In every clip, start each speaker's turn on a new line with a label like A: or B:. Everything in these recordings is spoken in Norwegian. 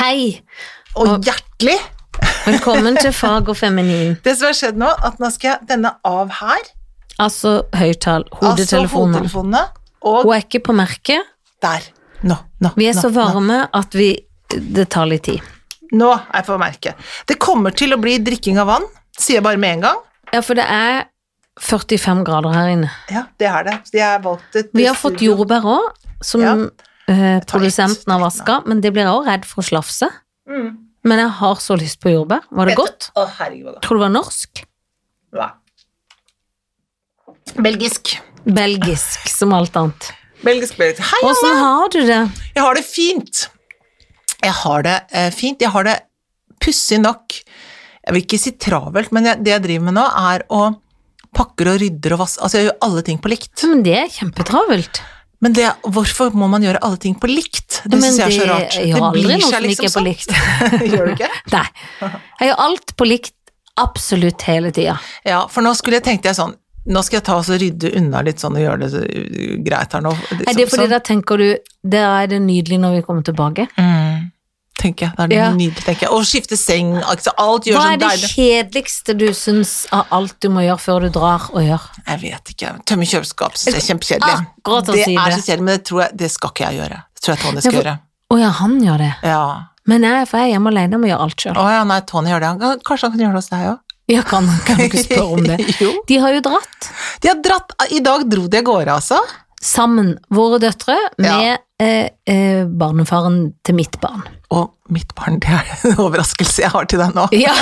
A: Hei,
B: Og hjertelig!
A: velkommen til Fag og feminin.
B: Det som har skjedd nå, at nå skal jeg denne av her.
A: Altså høyttal,
B: Altså
A: hodetelefoner.
B: hodetelefonene. Og
A: Hun er ikke på merket.
B: der. Nå, nå,
A: Vi er
B: nå,
A: så varme at vi Det tar litt tid.
B: Nå, nå er jeg på merket. Det kommer til å bli drikking av vann, sier jeg bare med en gang.
A: Ja, for det er 45 grader her inne.
B: Ja, det er det. Jeg har valgt et
A: Vi har fått
B: studio.
A: jordbær òg, som
B: Ja. tar
A: eh,
B: litt-
A: produsenten har vaska, men det blir jeg òg redd for å slafse.
B: Mm.
A: Men jeg har så lyst på jordbær. Var
B: Vet
A: det
B: du-
A: godt?
B: Å, herregud, hva godt.
A: Tror du det var norsk?
B: Hva? Belgisk.
A: Belgisk, som alt annet.
B: Belgisk belgisk. Hei, Anne!
A: Åssen har du det?
B: Jeg har det fint. Jeg har det eh, fint. Jeg har det pussig nok Jeg vil ikke si travelt, men jeg, det jeg driver med nå, er å pakker og rydder og vasker Altså, jeg gjør alle ting på likt.
A: Ja, Men det er kjempetravelt.
B: Men det, hvorfor må man gjøre alle ting på likt?
A: Ja,
B: Det
A: men
B: syns jeg er så
A: det
B: rart.
A: gjør aldri
B: blir
A: noe
B: seg liksom
A: som ikke er på likt.
B: sånn. gjør det ikke?
A: Nei. Jeg gjør alt på likt absolutt hele tida.
B: Ja, for nå skulle jeg tenkte jeg sånn Nå skal jeg ta og så rydde unna litt sånn og gjøre det så- greit her nå.
A: Er det fordi
B: sånn.
A: da tenker du Der er det nydelig når vi kommer tilbake?
B: Mm, tenker jeg. Det er
A: Ja.
B: nydelig, tenker jeg. Og skifte seng, altså alt gjør
A: Hva
B: sånn
A: er det
B: deilig.
A: kjedeligste du syns av alt du må gjøre før du drar og gjør?
B: Jeg vet ikke. Tømme kjøleskap syns jeg er kjempekjedelig.
A: Akkurat å
B: det
A: si
B: er
A: det.
B: så kjedelig, men det tror jeg det skal ikke jeg gjøre. Det tror jeg Tony skal
A: Ja, for-
B: gjøre.
A: Å ja, han gjør det.
B: Ja.
A: Men jeg, for jeg er hjemme alene og må gjøre alt sjøl.
B: Å ja, nei, Tony gjør det. Han kan- Kanskje han kan gjøre det hos deg òg?
A: Jeg kan, kan du ikke spørre om det.
B: jo.
A: De har jo dratt
B: De har dratt I dag dro de av gårde, altså.
A: sammen, våre døtre, med
B: Ja.
A: eh, eh, barnefaren til mitt barn.
B: Og mitt barn, det er en overraskelse jeg har til deg nå.
A: Ja,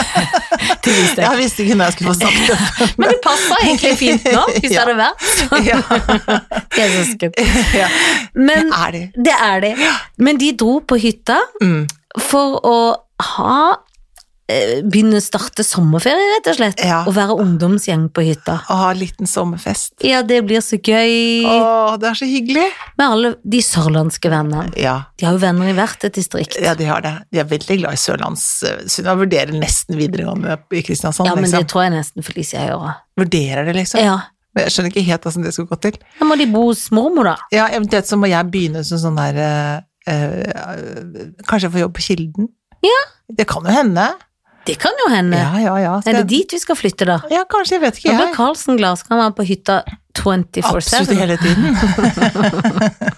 A: det visste jeg.
B: Jeg visste ikke når jeg skulle få sagt det.
A: Men det passer egentlig fint nå, hvis det
B: Ja.
A: hadde vært så
B: ja.
A: jeg er søsken.
B: ja.
A: Men
B: Er de?
A: det er det. Men de dro på hytta
B: Mm.
A: for å ha eh, Begynne å starte sommerferie, rett og slett.
B: Ja.
A: Og være ungdomsgjeng på hytta.
B: Å ha en liten sommerfest.
A: Ja, det blir så gøy
B: Å, det er så hyggelig.
A: med alle de sørlandske vennene.
B: Ja.
A: De har jo venner i hvert et distrikt.
B: Ja, de har det. De er veldig glad i Sørlands... Sunna vurderer nesten videregående i Kristiansand,
A: Ja, men det
B: liksom.
A: tror jeg nesten Felicia gjør. også.
B: Vurderer det, liksom.
A: Ja.
B: Men jeg skjønner ikke helt hvordan det skulle gå til.
A: Da må de bo hos mormor, da.
B: Ja, eventuelt så må jeg begynne som sånn der eh, eh, Kanskje jeg får jobb på Kilden?
A: Ja.
B: Det kan jo hende.
A: Det kan jo hende.
B: Ja, ja, ja. Skal
A: Er det
B: jeg-
A: dit vi skal flytte, da?
B: Ja, kanskje. Jeg vet ikke,
A: Da blir
B: jeg.
A: Karlsen glad, så kan han være på hytta 24-7.
B: Absolutt hele tiden.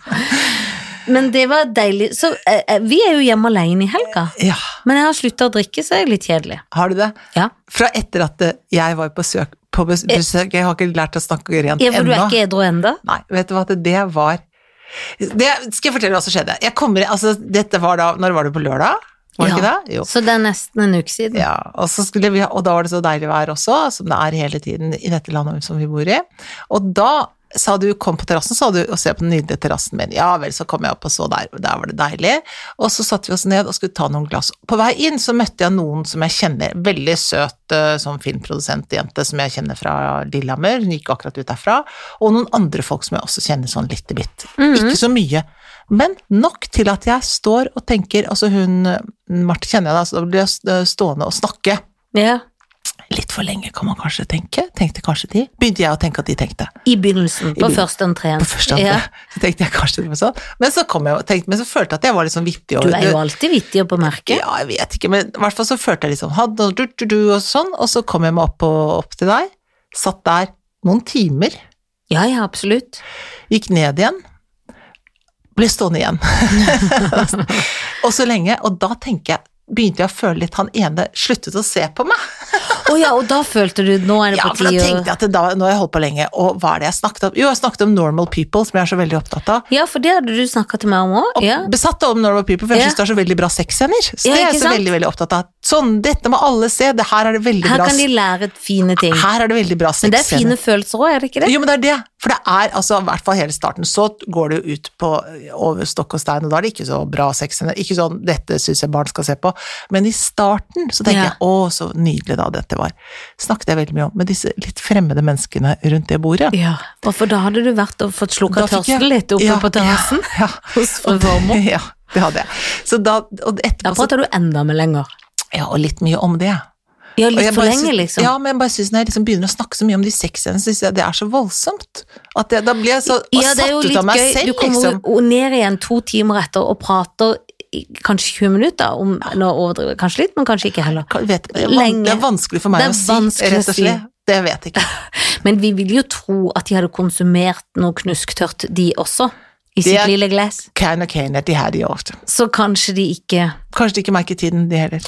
A: Men det var deilig. Så eh, eh, vi er jo hjemme alene i helga.
B: Ja,
A: Men jeg har slutta å drikke, så jeg er litt kjedelig.
B: har du det?
A: Ja.
B: Fra etter at eh, jeg var på besøk, på bes- besøk Jeg har ikke lært å snakke rent
A: Eh. Ja, for du er
B: ennå.
A: ikke edru ennå?
B: Nei, vet du hva, det, det var det, Skal jeg fortelle hva som skjedde? Jeg kommer, altså, dette var da, når var det på lørdag? Var det ikke det? Jo.
A: Så det er nesten en uke siden.
B: Ja, og, så skulle vi, ha- og da var det så deilig vær også, som det er hele tiden i dette landet som vi bor i. Og da sa du, kom på terrassen, sa du, og se på den nydelige terrassen min. Ja vel, så kom jeg opp og så der, og der var det deilig. Og så satte vi oss ned og skulle ta noen glass. På vei inn så møtte jeg noen som jeg kjenner, veldig søt eh, sånn filmprodusentjente som jeg kjenner fra Lillehammer, hun gikk akkurat ut derfra, og noen andre folk som jeg også kjenner sånn litt i bitt. Ikke så mye, men nok til at jeg står og tenker, altså hun, eh, Marte kjenner jeg da, så da blir jeg st- stående og snakke.
A: Ja.
B: Litt for lenge kan man kanskje tenke, tenkte kanskje de. Begynte jeg å tenke at de tenkte.
A: I begynnelsen, på
B: begynnelsen.
A: første entreen.
B: På første andre,
A: Ja.
B: så tenkte jeg kanskje det var sånn. Men så kom jeg og tenkte, men så følte jeg at jeg var litt sånn vittig.
A: Du
B: over
A: er
B: det.
A: jo alltid vittig og på merket.
B: Ja, jeg vet ikke, men i hvert fall så følte jeg liksom hadd og du, du, du og sånn, og så kom jeg meg opp, og, opp til deg, satt der noen timer,
A: Ja, ja, absolutt.
B: gikk ned igjen, ble stående igjen. og så lenge, og da tenker jeg, begynte jeg å føle litt, han ene sluttet å se på meg.
A: Å ja, og da følte du nå er det
B: Ja,
A: på
B: for da
A: tide
B: tenkte
A: å
B: jeg at da, nå har jeg holdt på lenge, og hva er det jeg snakket om? Jo, jeg snakket om normal people, som jeg er så veldig opptatt av.
A: Ja, for det hadde du snakka til meg om òg.
B: Og
A: Ja.
B: Besatt av normal people, for jeg
A: Ja.
B: synes det er så veldig bra sexscener. Så
A: Ja,
B: det er
A: ikke
B: jeg så
A: sant?
B: veldig, veldig opptatt av. Sånn, dette må alle se, det her er det veldig
A: Her
B: bra
A: kan de lære fine ting.
B: Her er det veldig bra
A: Men det er fine
B: sexscener.
A: følelser òg, er det ikke det?
B: Jo, men det er det. For det er altså, i hvert fall hele starten, så går det jo ut på over stokk og stein, og da er det ikke så bra sexscener. Ikke sånn 'dette syns jeg barn skal se på', men i starten så tenker
A: Ja.
B: jeg 'å, så nydelig da dette var'. Snakket jeg veldig mye om med disse litt fremmede menneskene rundt det bordet.
A: Ja, og for da hadde du vært og fått slukka
B: Da fikk jeg-
A: tørsten litt oppe
B: Ja,
A: på terrassen
B: Ja,
A: hos fru
B: Og det-
A: Vormo.
B: Ja, det hadde jeg. Så da, og
A: Da
B: etterpå så,
A: prater du enda med lenger.
B: Ja, og litt mye om det.
A: Ja,
B: Og
A: litt
B: jeg
A: for
B: bare
A: lenge,
B: syns-
A: liksom.
B: Ja, men jeg bare syns når jeg liksom begynner å snakke så mye om de sexscenene, så syns jeg det er så voldsomt. At jeg, da blir jeg så
A: Ja, det er
B: satt
A: jo
B: ut av
A: litt
B: meg
A: gøy.
B: selv,
A: Du kommer
B: liksom.
A: jo ned igjen to timer etter og prater i kanskje 20 minutter, da, om, nå overdriver jeg kanskje litt, men kanskje ikke heller.
B: Kan- Vet, det er van-
A: Lenge.
B: Det er vanskelig for meg
A: Det er
B: å si,
A: vanskelig
B: rett og
A: å si.
B: slett. Det vet jeg ikke.
A: Men vi vil jo tro at de hadde konsumert noe knusktørt, de også, i sitt
B: Det-
A: lille glass.
B: Can og Kane er de her, de også.
A: Så kanskje de ikke
B: Kanskje de ikke merker tiden, de heller.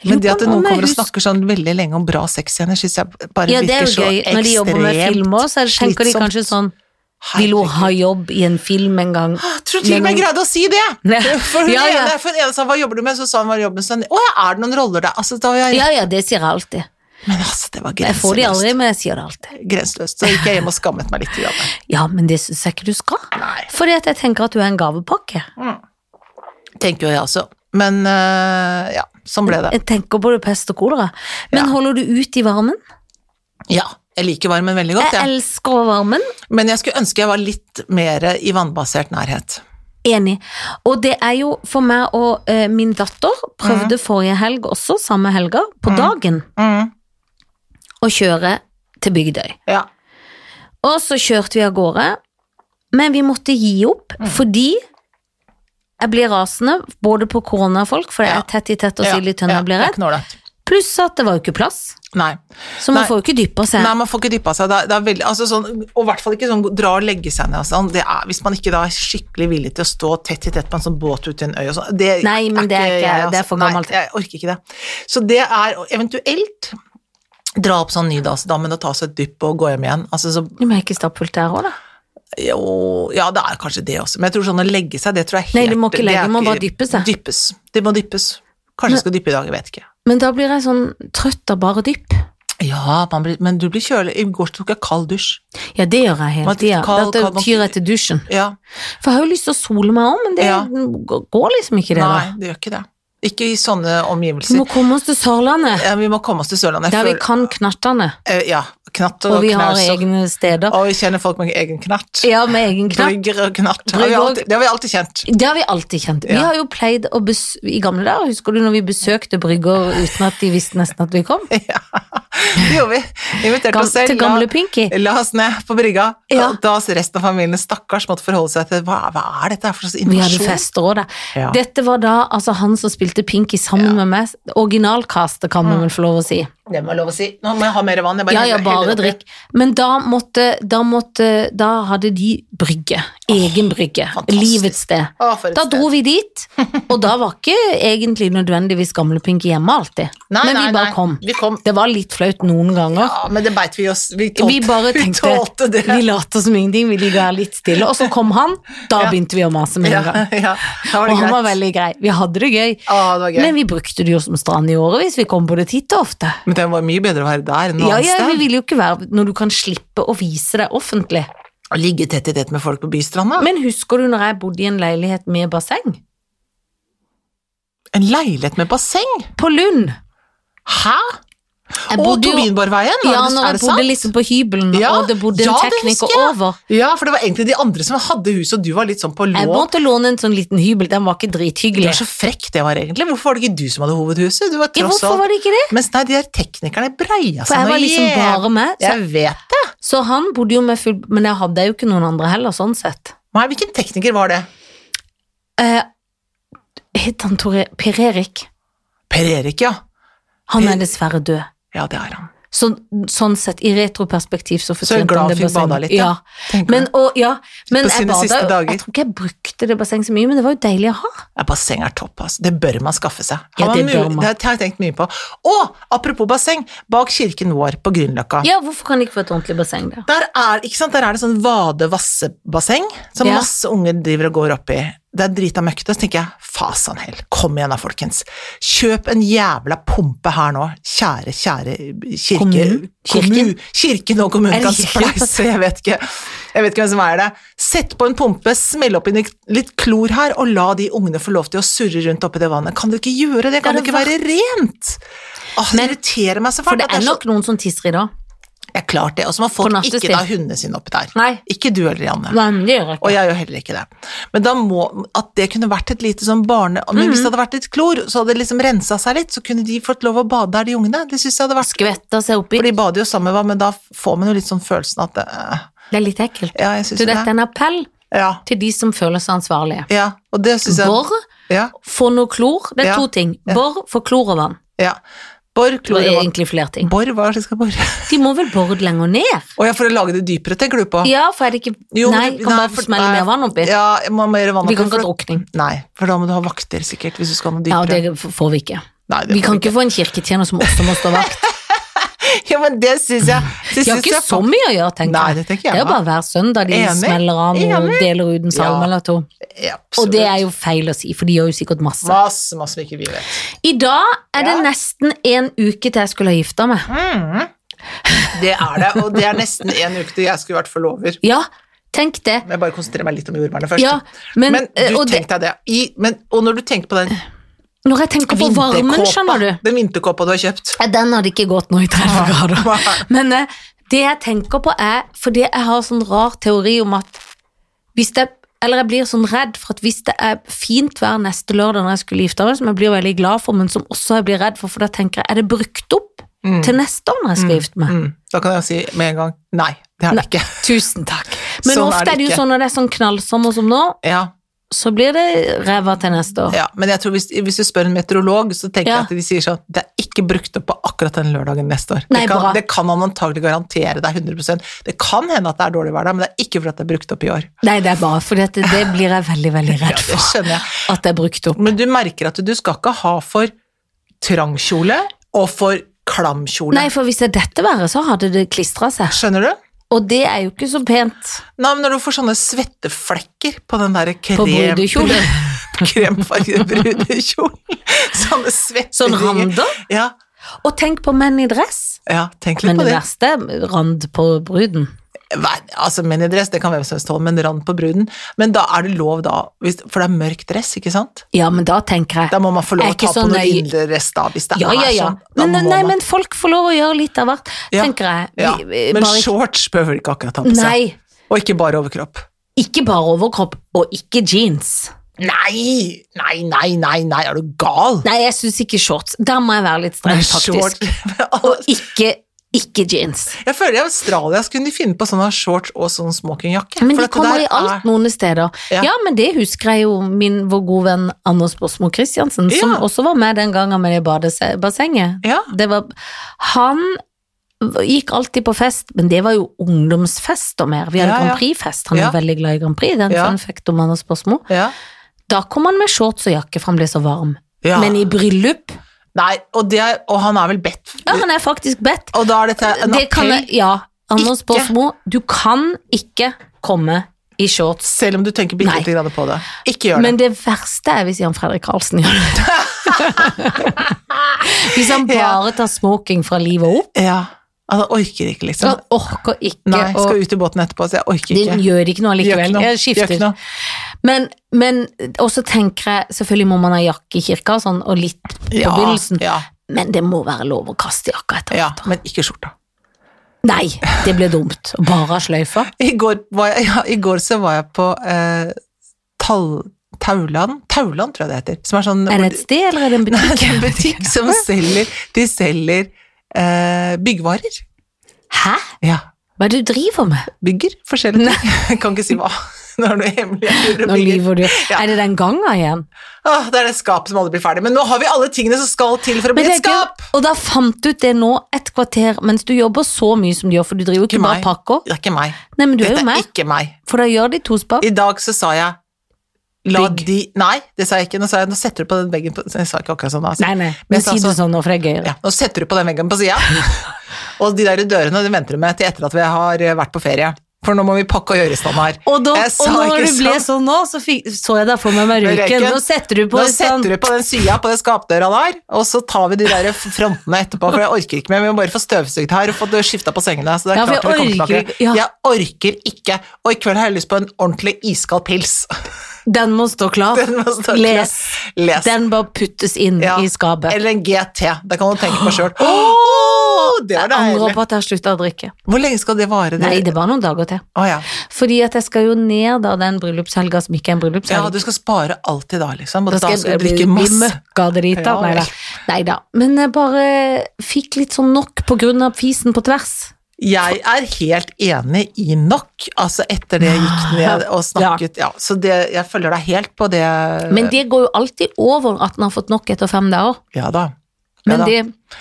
A: Jeg
B: Men
A: lurer
B: det
A: på
B: at
A: om
B: noen
A: jeg
B: kommer og
A: husker-
B: snakker sånn veldig lenge om bra sexscener, syns jeg bare
A: Ja, det
B: virker
A: er jo
B: så
A: gøy. Når de jobber med filmer, så tenker de kanskje sånn Vil hun ha jobb i en film en gang?
B: Jeg tror til og med jeg greide å si det!
A: Nei.
B: For hun
A: Ja, ja.
B: ene for den ene sa 'hva jobber du med', så sa hun hva jobben sin Å ja, er det noen roller der? Altså, da var jeg,
A: Ja, ja, det sier jeg alltid.
B: Men altså, det var
A: Jeg får de aldri,
B: grenseløst.
A: men jeg sier det alltid.
B: Grenseløst. Så gikk jeg hjem og skammet meg litt. grann.
A: Ja, men det syns jeg ikke du skal.
B: Nei.
A: Fordi at jeg tenker at du er en gavepakke.
B: Tenker jo jeg også. Men øh, ja, sånn ble det.
A: Jeg tenker både pest og kolera. Men
B: Ja.
A: holder du ut i varmen?
B: Ja, jeg liker varmen veldig godt,
A: Jeg
B: jeg.
A: elsker varmen.
B: Men jeg skulle ønske jeg var litt mer i vannbasert nærhet.
A: Enig. Og det er jo for meg og eh, min datter
B: Mhm.
A: prøvde forrige helg også, samme helga, på dagen, å kjøre til Bygdøy.
B: Ja.
A: Og så kjørte vi av gårde, men vi måtte gi opp
B: Mhm.
A: fordi jeg blir rasende, både på koronafolk, for det
B: Ja.
A: er tett i tett og sild i tønna, blir
B: det er
A: redd,
B: ikke noe ålreit.
A: pluss at det var jo ikke plass,
B: Nei.
A: så man
B: Nei.
A: får jo ikke dyppa seg.
B: Nei, man får ikke dyppa seg. Det er, det er veldig, altså sånn, og i hvert fall ikke sånn dra og legge seg ned og sånn. Det er, hvis man ikke da er skikkelig villig til å stå tett i tett på en sånn båt ute i en øy og sånn. Det
A: Nei, men det er ikke-
B: jeg, altså.
A: det er for
B: Nei,
A: gammelt.
B: jeg orker ikke det. Så det er eventuelt dra opp sånn Nydalsdammen og ta seg et dypp og gå hjem igjen. Altså så
A: Du må ikke stappfullt der òg, da.
B: jo, ja, det er kanskje det også, men jeg tror sånn å legge seg, det tror jeg helt
A: Nei, du må ikke
B: det
A: legge,
B: er
A: du må
B: ikke-
A: bare dyppe seg.
B: Dyppes. Det må dyppes. Kanskje jeg skal dyppe i dag, jeg vet ikke.
A: Men da blir jeg sånn trøtt av bare dypp.
B: Ja, man blir, men du blir kjølig. I går tok jeg kald dusj.
A: Ja, det gjør jeg hele
B: Man-
A: tida.
B: kald-
A: Dette
B: kald- man-
A: tyr jeg til dusjen.
B: Ja,
A: For jeg har jo lyst til å sole meg òg, men det
B: Ja.
A: går liksom ikke, det.
B: Nei,
A: da.
B: det gjør ikke det. Ikke i sånne
A: Vi
B: omgivelser.
A: må komme oss til Sørlandet,
B: Ja, vi må komme oss til Sørlandet.
A: der vi
B: før-
A: kan knattene.
B: eh, ja, knatt og,
A: Og vi har
B: knaus og-
A: egne steder.
B: Og vi kjenner folk med egen knatt.
A: Ja, med egen knatt.
B: Brygger og knatt. Det har vi
A: Brygger og-
B: alltid, det har vi alltid kjent.
A: Det har vi alltid kjent. Vi
B: Ja.
A: har jo pleid å bes I gamle dager, husker du når vi besøkte brygger uten at de visste nesten at vi kom?
B: Det gjorde vi. Vi Inviterte
A: Gam
B: oss selv.
A: til
B: la-
A: gamle Pinky.
B: Eh, La oss ned på brygga.
A: Ja.
B: Da resten av familien stakkars måtte forholde seg til hva, hva er dette her for slags
A: Vi hadde
B: invasjon?
A: fester òg, da.
B: Ja.
A: Dette var da altså han som spilte Pinky sammen med meg. Originalkastet, kan
B: Mm.
A: man vel få lov å si.
B: Det må jeg lov å si. Nå må jeg ha mer vann. Jeg
A: Ja, ja,
B: heller- heller
A: bare
B: oppi.
A: drikk. Men da måtte Da, måtte, da hadde de brygge. Egen brygge.
B: fantastisk.
A: Livets sted.
B: Å, for et
A: Da
B: sted.
A: dro vi dit, og da var ikke egentlig nødvendigvis gamle Pinky hjemme alltid.
B: Nei,
A: Men
B: nei,
A: vi bare
B: nei.
A: kom.
B: Vi kom.
A: Det var litt flaut noen ganger.
B: Ja, men det beit vi oss. Vi tålte,
A: Vi bare
B: vi
A: tenkte
B: tålte det.
A: Vi later som ingenting, vi ligger her litt stille. Og så kom han, da begynte vi å mase med
B: ja,
A: en gang.
B: ja, da var
A: Og
B: det
A: han var
B: greit.
A: veldig grei. Vi hadde det gøy.
B: Å, det var gøy.
A: Men vi brukte det jo som strand i årevis. Vi kom på det titt og ofte.
B: Men det var mye bedre å være der enn noe
A: Ja,
B: annet
A: ja,
B: sted.
A: vi ville jo ikke være når du kan slippe å vise deg offentlig.
B: Å ligge tett i tett med folk på bystranda.
A: Men husker du når jeg bodde i en leilighet med basseng?
B: en leilighet med basseng?
A: På Lund.
B: Hæ?
A: Jeg
B: Og
A: bodde jo-
B: Tobinborgveien?
A: Ja,
B: er det,
A: når
B: er
A: jeg
B: det
A: bodde
B: sant?
A: liksom på hybelen, og det bodde en
B: ja, det
A: tekniker
B: husker jeg.
A: over.
B: Ja, for det var egentlig de andre som hadde huset, og du var litt sånn på
A: Jeg
B: lån.
A: måtte låne en sånn liten hybel, den var ikke
B: Du
A: drithyggelig.
B: er så frekk det var egentlig. Hvorfor var det ikke du som hadde hovedhuset? Du var
A: Ja,
B: tross
A: hvorfor var
B: alt
A: det ikke det?
B: Mens nei, de der teknikerne breia
A: For
B: seg noe
A: jeg var liksom
B: jæv-
A: bare med. Så,
B: Jeg vet det.
A: så han bodde jo med full Men jeg hadde jo ikke noen andre heller, sånn sett.
B: Nei, hvilken tekniker var det?
A: Eh, het han Tore Per Erik?
B: Per Erik, ja.
A: Han
B: Per-
A: er dessverre død.
B: Ja, det er han.
A: Så, sånn sett, i retroperspektiv, så
B: Så jeg er
A: fortjente
B: glad
A: han det
B: fikk
A: bassenget.
B: bada litt,
A: ja.
B: da. Tenker
A: Men,
B: du.
A: og, ja, men
B: På
A: jeg
B: sine
A: bada
B: siste
A: jo-
B: dager.
A: Jeg tror ikke jeg brukte det bassenget så mye, men det var jo deilig å ha.
B: Ja, basseng er topp, altså. Det bør man skaffe seg.
A: Ja,
B: Har
A: det
B: man
A: bør
B: mul-
A: man.
B: Det har jeg tenkt mye på. Og apropos basseng, bak kirken vår på Grünerløkka.
A: Ja, hvorfor kan de ikke få et ordentlig basseng der?
B: Der er, ikke sant? Der er det sånn vade-vasse-basseng som
A: Ja.
B: masse unge driver og går opp i. Det er drita møkkete, så tenker jeg fasan hell, kom igjen da, folkens. Kjøp en jævla pumpe her nå. Kjære, kjære kirke...
A: Kommunen?
B: Kirken? kirken og kommunen
A: Er det
B: kan
A: kirken?
B: spleise, jeg vet ikke. Jeg vet ikke hvem som er det. Sett på en pumpe, smell opp inn i litt klor her, og la de ungene få lov til å surre rundt oppi det vannet. Kan du ikke gjøre det? Kan
A: Det
B: det
A: er
B: ikke være rent? Åh, det irriterer meg så
A: For
B: fælt.
A: det
B: at
A: er
B: så-
A: nok noen som tisser i dag.
B: det er klart det. Og så må
A: På
B: folk
A: nattestid.
B: ikke da hundene sine oppi der.
A: Nei.
B: Ikke du eller Janne.
A: Nei, men det gjør jeg
B: Og
A: ikke.
B: jeg gjør heller ikke det. Men da må At det kunne vært et lite sånn barne... Men
A: Mhm.
B: hvis det hadde vært litt klor, så hadde det liksom rensa seg litt, så kunne de fått lov å bade der, de ungene. Det syns jeg hadde vært
A: Skvetter seg oppi.
B: For de bader jo sammen, hva, men da får man jo litt sånn følelsen at eh,
A: Det er litt ekkelt.
B: Ja, jeg
A: Så
B: syns jo
A: dette er
B: det.
A: en appell
B: Ja.
A: til de som føler seg ansvarlige.
B: ja. Og det syns jeg
A: Vår
B: Ja.
A: Få noe klor. Det er
B: Ja.
A: to ting. Bor, få klor og vann.
B: ja. Bor,
A: Det var
B: klorevann.
A: egentlig flere ting.
B: Bor, hva er det de skal bore?
A: De må vel bore lenger ned?
B: Å ja, for å lage det dypere, tenker du på?
A: Ja, for er det ikke
B: Jo, men
A: Nei,
B: det-
A: kan
B: nei,
A: bare
B: for-
A: smelle
B: nei.
A: mer vann oppi.
B: Ja, man må gjøre vann
A: Vi kan
B: oppi,
A: ikke ha
B: for-
A: drukning.
B: Nei, for da må du ha vakter, sikkert, hvis du skal ha noe
A: Ja,
B: dypere.
A: det f- får vi ikke.
B: Nei, det
A: Vi
B: får
A: kan
B: du
A: ikke få en kirketjener som også må stå vakt.
B: Ja, men det syns jeg det
A: De har
B: synes
A: ikke
B: jeg
A: så
B: fakt-
A: mye å gjøre,
B: Nei,
A: tenker jeg.
B: det tenker
A: Det
B: jeg.
A: er jo bare hver søndag de
B: Enig.
A: smeller av og
B: Enig.
A: deler ut en salme
B: Ja.
A: eller to. Og det er jo feil å si, for de gjør jo sikkert masse.
B: Masse, masse som ikke vi vet.
A: I dag er det
B: Ja.
A: nesten en uke til jeg skulle ha gifta meg.
B: Det er det, og det er nesten en uke til jeg skulle vært forlover.
A: Ja, tenk det.
B: Men jeg bare konsentrerer meg litt om jordbærene først.
A: Ja, men,
B: men
A: eh,
B: du
A: og det,
B: tenkte deg det. I, men, og når du tenker på den
A: når jeg tenker på varmen, skjønner du
B: vinterkåpa Den vinterkåpa du har kjøpt
A: Ja, Den hadde ikke gått nå i 30 grader.
B: Hva-
A: Men eh, det jeg tenker på er Fordi jeg har sånn rar teori om at hvis det eller jeg blir sånn redd for at hvis det er fint vær neste lørdag når jeg skulle gifte meg, som jeg blir veldig glad for, men som også jeg blir redd for, for da tenker jeg, er det brukt opp
B: Mm.
A: til neste år når jeg skal gifte meg?
B: Mm, Da kan jeg si med en gang nei, det er det ikke.
A: Tusen takk. Men
B: Sånn er
A: ofte
B: det
A: er det jo
B: ikke.
A: sånn når det er sånn knallsommer som nå,
B: Ja,
A: så blir det ræva til neste år.
B: ja. Men jeg tror hvis, hvis du spør en meteorolog, så tenker
A: Ja.
B: jeg at de sier sånn det er ikke brukt opp på akkurat den lørdagen neste år.
A: Nei,
B: det, kan,
A: bra.
B: det kan han antagelig garantere deg 100 Det kan hende at det er dårlig vær da, men det er ikke fordi at det er brukt opp i år.
A: Nei, det er bare fordi at det, det blir jeg veldig, veldig
B: Ja,
A: redd
B: det
A: for.
B: skjønner jeg.
A: At det er brukt opp.
B: Men du merker at du skal ikke ha for trang kjole og for klam kjole.
A: Nei, for hvis det er dette været, så hadde det klistra seg.
B: Skjønner du?
A: Og det er jo ikke så pent
B: Nei, men når du får sånne svetteflekker på den derre krem...
A: på brudekjolen.
B: kremfargede brudekjolen. Sånne svette
A: Sånn rander.
B: Ja,
A: Og tenk på menn i dress.
B: ja, tenk litt
A: Men
B: på
A: det
B: det.
A: verste er rand på bruden.
B: Nei, altså, menn i dress, det kan hvem som helst tåle, men rand på bruden. Men da er det lov, da, hvis, for det er mørk dress, ikke sant?
A: Ja, men da tenker jeg
B: Da må man få lov å
A: Jeg er
B: ta
A: ikke
B: på
A: så
B: noe
A: nøye.
B: innedress, da, hvis det
A: Ja,
B: er
A: ja, ja.
B: sånn. Da
A: Men,
B: må
A: nei,
B: man-
A: men folk får lov å gjøre litt av hvert,
B: Ja.
A: tenker jeg.
B: ja.
A: Vi- vi-
B: Men
A: bare,
B: shorts behøver de ikke akkurat ta på seg.
A: Nei,
B: Og ikke bare overkropp.
A: ikke bare overkropp, og ikke jeans.
B: Nei, nei, nei, nei, nei, er du gal?
A: Nei, jeg syns ikke shorts. Der må jeg være litt streng, faktisk.
B: Shorts.
A: Ikke, ikke jeans.
B: Jeg føler i Australia så kunne de finne på sånne shorts og sånn smokingjakke.
A: Men
B: for
A: de
B: dette
A: kommer
B: der
A: i alt noen steder. Ja.
B: Ja.
A: men det husker jeg jo min vår gode venn Anders Bosmo Christiansen, som
B: Ja.
A: også var med den gangen med det badese- bassenget.
B: Er, ja,
A: Det var Han gikk alltid på fest, men det var jo ungdomsfest og mer. Vi hadde
B: Ja, ja.
A: Grand Prix-fest, han
B: Ja.
A: er veldig glad i Grand Prix, den
B: Ja.
A: fun fact om Anders Bosmo.
B: ja.
A: Da kom han med shorts og jakke, for han ble så varm.
B: ja.
A: Men i bryllup
B: Nei, og, det er, og han er vel bedt
A: Ja, han er faktisk bedt.
B: Og da er dette en
A: Det kan
B: appell,
A: jeg, ja. Anders
B: Ikke.
A: Bosmo, du kan ikke komme i shorts
B: selv om du tenker bitte
A: Nei.
B: lite grann på det. Ikke gjør det.
A: Men det verste er hvis Jan Fredrik Karlsen gjør det. hvis han bare tar smoking fra livet opp.
B: Ja, altså, jeg orker ikke,
A: Så
B: liksom.
A: han orker ikke
B: Nei,
A: å
B: skal ut i båten etterpå, så jeg orker
A: Det
B: ikke.
A: gjør ikke noe
B: Gjør ikke
A: allikevel.
B: noe.
A: Jeg
B: Gjør ikke
A: skifter.
B: noe.
A: Men, men også tenker jeg Selvfølgelig må man ha jakke i kirka og sånn, og litt på
B: Ja,
A: begynnelsen.
B: ja,
A: Men det må være lov å kaste jakka etter
B: ja,
A: hvert.
B: men ikke skjorta.
A: Nei, det blir dumt. Bare ha sløyfa.
B: I går, var jeg, ja, i går så var jeg på eh, Tall... Tauland? Tauland, tror jeg det heter. Som er sånn
A: Er det et sted, eller er det en
B: Nei, det er en
A: butikk?
B: butikk som selger De selger eh, byggvarer.
A: Hæ?
B: Ja.
A: Hva er det du driver med?
B: Bygger forskjellige ting. Jeg kan ikke si hva. Nå er det hemmelig. Jeg gjør og
A: Nå
B: bygger.
A: lyver du.
B: Ja.
A: Er det den gangen igjen?
B: Åh, det er det skapet som aldri blir ferdig. Men nå har vi alle tingene som skal til for å
A: Men
B: bli
A: det
B: et
A: er ikke-
B: skap!
A: Og da fant du ut det nå, et kvarter, mens du jobber så mye som du gjør, for du driver jo ikke
B: Ikke
A: bare
B: meg.
A: pakker.
B: Det er ikke meg.
A: Nei, men du er
B: Dette
A: jo
B: er
A: meg,
B: ikke meg.
A: for da gjør de to spann.
B: I dag så sa jeg La
A: Bygg.
B: de Nei, det sa jeg ikke. Nå, sa jeg, nå setter du på den veggen på Jeg sa ikke akkurat sånn, da.
A: Nei, nei,
B: Men
A: men
B: jeg sa
A: si det
B: så-
A: sånn nå, for det er gøyere.
B: Ja, nå setter du på den veggen på sida. og de der dørene de venter du med til etter at vi har eh, vært på ferie. For nå må vi pakke og gjøre i stand her.
A: Og, da,
B: Jeg sa
A: og når
B: ikke
A: du ble
B: sånn.
A: sånn nå, så, fikk, så jeg deg for meg med
B: Med
A: røyken.
B: røyken.
A: Nå setter du på
B: Nå
A: en sånn
B: setter du på den sida på den skapdøra der, og så tar vi de der frontene etterpå, for jeg orker ikke mer. Vi må bare få støvsugd her og få skifta på sengene. Så det er
A: Ja,
B: klart vi
A: for jeg
B: kommer
A: orker
B: tilbake.
A: ikke- ja.
B: Jeg orker ikke. Og i kveld har jeg lyst på en ordentlig iskald pils.
A: Den må stå klar.
B: Den må stå klar.
A: Les.
B: Les.
A: Den bare puttes inn
B: Ja.
A: i skapet.
B: Eller en GT. Det kan du tenke på sjøl. det er
A: Jeg angrer
B: deilig.
A: på at jeg har slutta å drikke.
B: Hvor lenge skal det vare?
A: Nei, det er bare noen dager til.
B: Å, ja.
A: Fordi at jeg skal jo ned da den bryllupshelga som ikke er en
B: ja,
A: bryllupshelg.
B: du skal spare alltid da, liksom. Og
A: Da skal jeg bli-
B: drikke
A: bli
B: masse.
A: møkkadrita.
B: Ja,
A: Nei da. Neida. Men jeg bare fikk litt sånn nok på grunn av fisen på tvers.
B: Jeg er helt enig i nok, altså etter det jeg gikk
A: Ah,
B: ned og snakket ja. Så det, jeg følger deg helt på det
A: Men det går jo alltid over at den har fått nok etter fem dager.
B: Ja da. Ja
A: Men
B: da.
A: det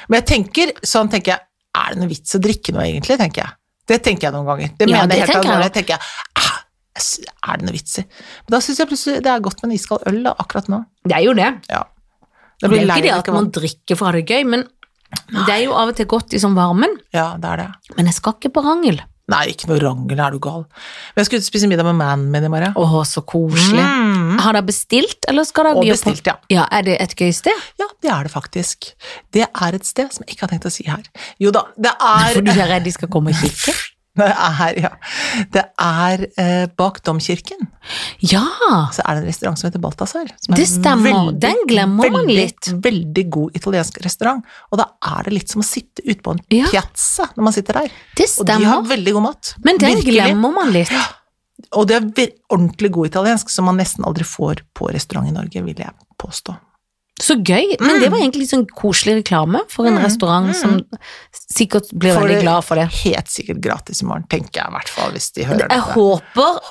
B: Men jeg tenker, sånn tenker jeg, er det noe vits å drikke noe egentlig, tenker jeg. Det tenker jeg noen ganger. Det
A: Ja,
B: mener
A: det
B: jeg helt
A: tenker jeg
B: alvorlig. Jeg tenker, ah, jeg sy- er det noe vits i? Men da syns jeg plutselig det er godt med en iskald øl da, akkurat nå.
A: Det er jo det.
B: Ja. Det
A: Det er
B: blir
A: jo
B: lei
A: ikke det
B: av
A: at
B: ikke
A: man
B: vann.
A: drikker for å ha det gøy, men det er jo av og til godt i sånn varmen.
B: Ja, det er det.
A: Men jeg skal ikke på rangel.
B: Nei, ikke noe rangel, er du gal. Men jeg skulle ut og spise middag med mannen min i morgen.
A: Åh, så koselig.
B: Mm.
A: Har dere bestilt, eller skal dere
B: Og
A: by på-
B: bestilt, ja.
A: Ja, er det et gøy sted?
B: Ja, det er det faktisk. Det er et sted som jeg ikke har tenkt å si her. Jo da, det
A: For
B: er
A: du er redd de skal komme og kikke?
B: Det er, ja. det er eh, bak Domkirken.
A: Ja!
B: så er det en restaurant som heter Balthazar. Som er
A: Det stemmer. Den glemmer man
B: veldig,
A: litt.
B: Veldig god italiensk restaurant. Og da er det litt som å sitte ute på en
A: Ja.
B: piazza når man sitter der.
A: Det
B: Og de har
A: stemmer.
B: veldig god mat.
A: Men den
B: Virkelig.
A: glemmer man litt.
B: Og det er vir- ordentlig god italiensk, som man nesten aldri får på restaurant i Norge, vil jeg påstå.
A: Så gøy. Men det var egentlig litt sånn koselig reklame for en
B: Mm.
A: restaurant som sikkert blir
B: For
A: veldig
B: det-
A: glad for det.
B: Helt sikkert gratis i morgen, tenker jeg i hvert fall, hvis de hører
A: Jeg
B: dette.
A: håper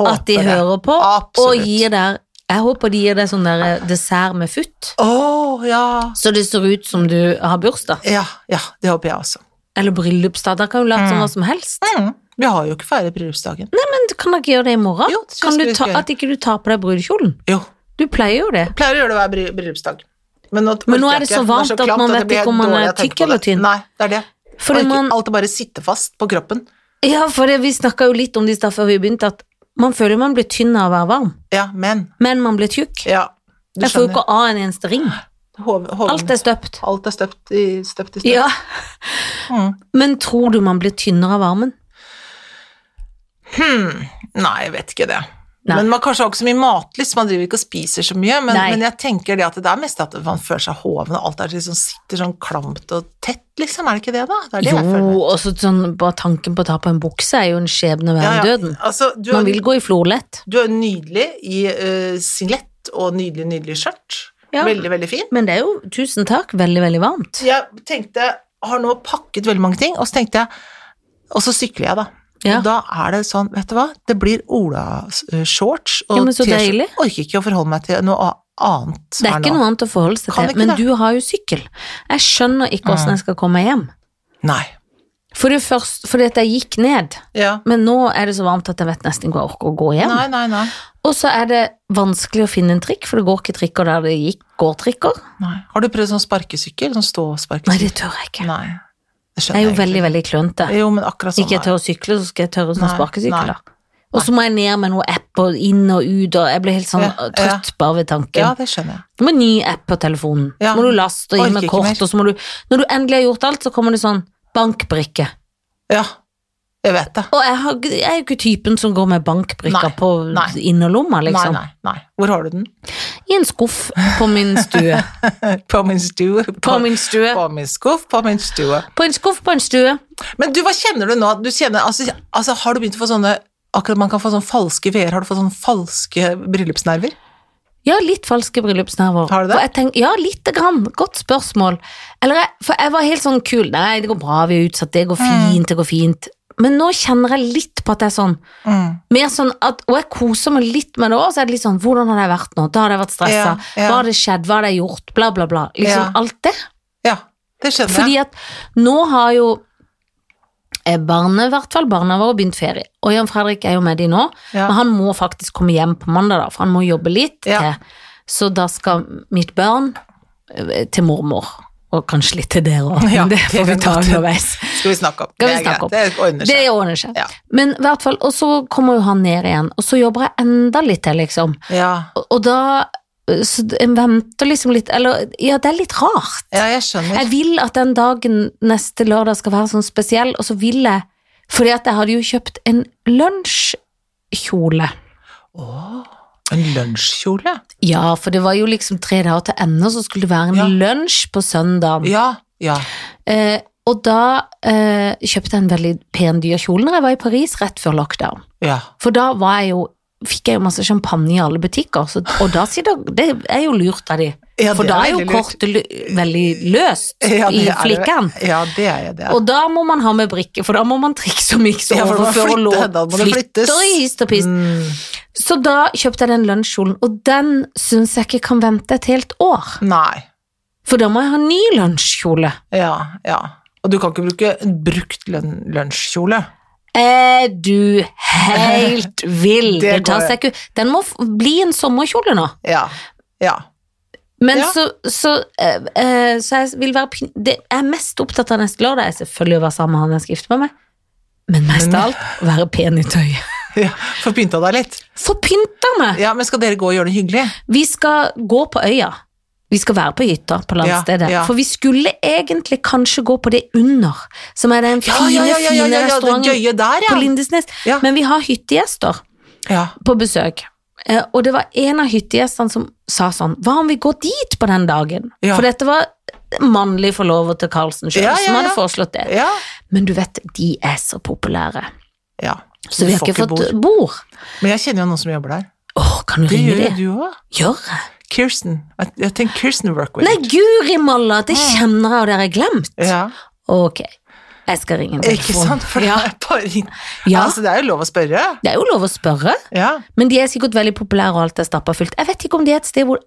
A: at de
B: Håper det.
A: hører på
B: Absolutt.
A: og gir der Jeg håper de gir deg sånn der dessert med futt,
B: Å, ja.
A: så det ser ut som du har bursdag.
B: ja. Ja, det håper jeg også.
A: Eller bryllupsdag. Dere kan jo late som
B: Mm.
A: hva som helst.
B: Mm. Vi har jo ikke feiret bryllupsdagen.
A: Men kan dere gjøre det i morgen?
B: Jo, det synes
A: kan du
B: jeg vi
A: ta,
B: skal gjøre.
A: at ikke du tar på deg brudekjolen?
B: Jo.
A: Du pleier jo det.
B: Pleier å gjøre det hver bry- bryllupsdag. Men nå,
A: Men nå
B: orker
A: er det
B: jeg
A: så
B: ikke.
A: varmt
B: Det er
A: at
B: klamt
A: man
B: jeg
A: vet
B: blir
A: ikke om man
B: dårlig
A: er
B: av å tenke
A: tykk
B: på
A: eller
B: det.
A: tynn.
B: Nei, det er det. Og
A: Fordi
B: ikke,
A: man,
B: Alt bare sitter fast på kroppen.
A: ja, for det, vi snakka jo litt om det i stad før vi begynte, at man føler man blir tynn av å være varm,
B: Ja, men
A: men man blir tjukk.
B: Ja, du
A: Jeg får jo
B: skjønner.
A: ikke av en eneste ring.
B: Hov- hoven-
A: Alt er støpt.
B: Alt er støpt i støpt i støpt.
A: Ja,
B: Mm.
A: Men tror du man blir tynnere av varmen?
B: Hmm. Nei, jeg vet ikke det.
A: Nei.
B: Men man kanskje har ikke så mye matlyst, man driver ikke og spiser så mye. Men,
A: Nei.
B: men jeg tenker det at det er mest at man føler seg hoven, og alt er liksom sitter sånn klamt og tett, liksom. Er det ikke det, da? Det er det jeg føler.
A: Jo, og så sånn, bare tanken på å ta på en bukse er jo en skjebne verre
B: Ja, ja.
A: enn døden.
B: Altså, du
A: Man
B: er,
A: vil gå i florlett,
B: du er nydelig i eh, singlet og nydelig, nydelig skjørt.
A: Ja.
B: Veldig, veldig fin.
A: men det er jo, tusen takk, veldig, veldig varmt.
B: jeg tenkte, har nå pakket veldig mange ting, og så tenkte jeg, og så sykler jeg da.
A: Ja.
B: Og da er det sånn, vet du hva, det blir Ola-shorts og
A: Ja, men så deilig.
B: Orker ikke å forholde meg til noe a- annet
A: Det er
B: her
A: ikke
B: nå.
A: noe annet å forholde seg
B: Kan
A: til,
B: ikke
A: men
B: det. Mm.
A: du har jo sykkel. Jeg skjønner ikke åssen jeg skal komme hjem.
B: Nei.
A: For det først, fordi at jeg gikk ned,
B: Ja.
A: men nå er det så varmt at jeg vet nesten ikke hva jeg orker å gå hjem.
B: Nei, nei, nei.
A: Og så er det vanskelig å finne en trikk, for det går ikke trikker der det gikk, går trikker.
B: nei. Har du prøvd sånn sparkesykkel? Sånn
A: Nei,
B: stå-sparkesykkel?
A: det tør jeg ikke.
B: Nei. Det
A: Jeg
B: skjønner
A: er jo
B: jeg
A: veldig, veldig klønete.
B: Jo, men akkurat sånn
A: Ikke jeg
B: er det.
A: tør å sykle, så skal jeg tørre sånn
B: Nei, nei,
A: sparkesykler. Og så må jeg ned med noen apper inn og ut, og jeg blir helt sånn
B: Ja,
A: øh, trøtt bare ved
B: Ja,
A: tanken.
B: det skjønner jeg.
A: Du må ha ny app på telefonen.
B: Ja.
A: Må du laste og inn
B: Orker
A: med
B: ikke
A: kort,
B: mer.
A: og så må du Når du endelig har gjort alt, så kommer det sånn bankbrikke.
B: Ja, jeg vet det.
A: Og jeg, har, jeg er jo ikke typen som går med bankbrikker
B: Nei,
A: på
B: nei.
A: innerlomma, liksom.
B: Nei, nei, nei. Hvor har du den?
A: I en skuff på min stue.
B: På min stue.
A: På min stue.
B: På min skuff, på min stue.
A: På en skuff på en stue.
B: Men du, hva kjenner du nå? Du kjenner, altså, altså, har du begynt å få sånne Akkurat man kan få sånne falske veer, har du fått sånne falske bryllupsnerver?
A: Ja, litt falske bryllupsnerver.
B: Har du det?
A: For jeg tenk- ja, lite grann. Godt spørsmål. Eller jeg, for jeg var helt sånn kul. Nei, det går bra, vi er utsatt, det går
B: Mm.
A: fint, det går fint. Men nå kjenner jeg litt på at det er sånn. Mer sånn at, og jeg koser meg litt med det òg, så er det litt sånn Hvordan har det vært nå? Da har jeg vært stressa.
B: Ja, ja.
A: Hva har det skjedd? Hva har jeg gjort? Bla, bla, bla. Liksom
B: Ja.
A: alt det.
B: Ja, det skjønner
A: Fordi at nå har jo eh, barnet, i hvert fall barna våre, begynt ferie. Og Jan Fredrik er jo med de nå,
B: Ja.
A: men han må faktisk komme hjem på mandag, da, for han må jobbe litt
B: Ja.
A: til. Så da skal mitt barn eh, til mormor, og kanskje litt til dere òg.
B: Ja,
A: det får vi
B: det er
A: ta
B: godt.
A: underveis.
B: jeg. Skal vi snakke om.
A: Skal vi
B: Det er
A: snakke om.
B: greit, Det ordner
A: Det
B: seg.
A: ordner seg.
B: Ja.
A: Men i hvert fall, og så kommer jo han ned igjen, og så jobber jeg enda litt til, liksom.
B: Ja.
A: Og, og da eh, så en venter liksom litt Eller ja, det er litt rart.
B: ja, jeg skjønner.
A: Jeg vil at den dagen neste lørdag skal være sånn spesiell, og så vil jeg Fordi at jeg hadde jo kjøpt en lunsjkjole.
B: En lunsjkjole?
A: Ja, for det var jo liksom tre dager til ende, så skulle det være en
B: Ja.
A: lunsj på søndag.
B: Ja, ja.
A: Eh, og da eh, kjøpte jeg en veldig pen dyr kjole når jeg var i Paris rett før lockdown.
B: Ja.
A: For da var jeg jo fikk jeg jo masse champagne i alle butikker, så, og da sitter, det er jo lurt av de.
B: Ja,
A: For
B: det
A: da
B: er
A: er jo
B: veldig lurt.
A: kortet lu- veldig løst
B: Ja,
A: i
B: det er det.
A: flikken.
B: Ja, det er det.
A: Og da må man ha med brikke, for da må man trikse og mikse
B: Ja, for da må man
A: overføre og lå
B: flytte, da må det flyttes. Mm.
A: flytter i hist og pist. Så da kjøpte jeg den lunsjkjolen, og den syns jeg ikke kan vente et helt år.
B: Nei.
A: For da må jeg ha ny lunsjkjole.
B: Ja, ja. Og du kan ikke bruke en brukt lønn- lunsjkjole.
A: Er du helt vill?
B: Det
A: Det tar
B: går.
A: seg ikke ut. Den må f- bli en sommerkjole nå.
B: Ja. Ja.
A: Men
B: Ja.
A: så, så, eh, eh, så jeg vil være pin- det, Jeg er mest opptatt av neste lørdag, er selvfølgelig å være sammen med han jeg skal gifte meg med. Men mest av alt å være pen i tøyet.
B: ja. Få pynta deg litt.
A: Få pynta meg!
B: Ja, men skal dere gå og gjøre det hyggelig?
A: Vi skal gå på øya. Vi skal være på hytta på landstedet.
B: Ja, ja.
A: For vi skulle egentlig kanskje gå på det under, som er den fine, fine
B: det
A: restauranten
B: gøye der,
A: på
B: ja.
A: Lindesnes.
B: Ja.
A: Men vi har hyttegjester
B: ja.
A: på besøk. Eh, Og det var en av hyttegjestene som sa sånn Hva om vi går dit på den dagen?
B: Ja.
A: For dette var mannlig forlover til Carlsen sjøl
B: Ja, ja,
A: som
B: ja.
A: hadde foreslått det.
B: Ja.
A: Men du vet, de er så populære.
B: ja.
A: Så vi har
B: Får
A: ikke fått
B: bord.
A: bord.
B: Men jeg kjenner jo noen som jobber der.
A: Åh, kan du
B: Det
A: ringe
B: gjør jo
A: dem?
B: du òg.
A: Gjør jeg?
B: Kirsten. Jeg- Jeg tenker Kirsten work with.
A: Nei, guri malla, det kjenner jeg, og det har jeg glemt.
B: Ja.
A: Ok, jeg skal ringe en telefon.
B: Ikke sant? For det
A: ja.
B: er bare inn-
A: Ja.
B: Altså, det er jo lov å spørre.
A: Det er jo lov å spørre,
B: Ja.
A: men de er sikkert veldig populære og alt er stappa fullt. Jeg vet ikke om det er et sted hvor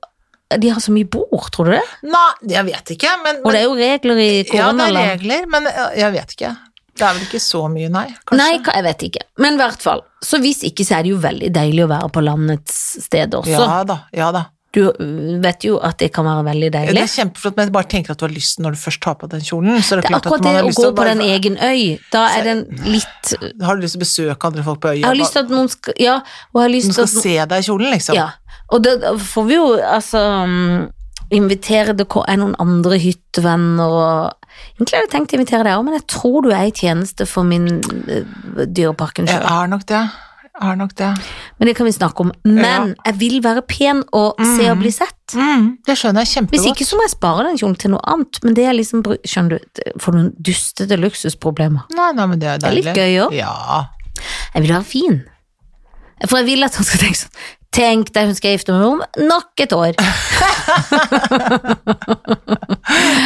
A: de har så mye bord, tror du det?
B: Nei, jeg vet ikke, men,
A: Og det er jo regler
B: men
A: i
B: Ja, det er
A: koronaland.
B: regler, men jeg- jeg vet ikke. Det er vel ikke så mye, nei. Kanskje.
A: Nei, ka- jeg vet ikke. Men i hvert fall. Så hvis ikke, så er det jo veldig deilig å være på landets sted også.
B: Ja da, ja da.
A: Du øh, vet jo at det kan være veldig
B: Det
A: deilig.
B: er kjempeflott, men jeg bare tenker at du har lyst når du først tar på den kjolen. Så det er
A: Det er
B: klart at
A: akkurat
B: man
A: det
B: har
A: å
B: lyst
A: gå
B: til å
A: på den
B: bare,
A: egen øy. Da er den litt Jeg
B: Har du lyst til å besøke andre folk på øya?
A: har lyst til at noen skal Ja, og jeg har
B: Du
A: lyst til
B: skal
A: at
B: se deg i kjolen, liksom.
A: Ja, og da da får vi jo altså mm, invitere det ko- er noen andre hyttevenner og Egentlig hadde jeg tenkt å invitere deg òg, men jeg tror du er i tjeneste for min eh, Dyreparken
B: Jeg
A: sjøl.
B: er nok det. Jeg er nok det.
A: Men det kan vi snakke om. Men jeg vil være pen og se og bli sett.
B: Mm, det skjønner jeg
A: Hvis
B: kjempegodt.
A: ikke så må jeg spare den kjolen til noe annet, men det er liksom bru- Skjønner du, det- for noen dustete luksusproblemer.
B: Nei, nei, men det er
A: er
B: deilig.
A: litt gøy også.
B: Ja.
A: Jeg vil være fin. For jeg vil at han skal tenke sånn Tenk deg hun skal gifte meg med om nok et år.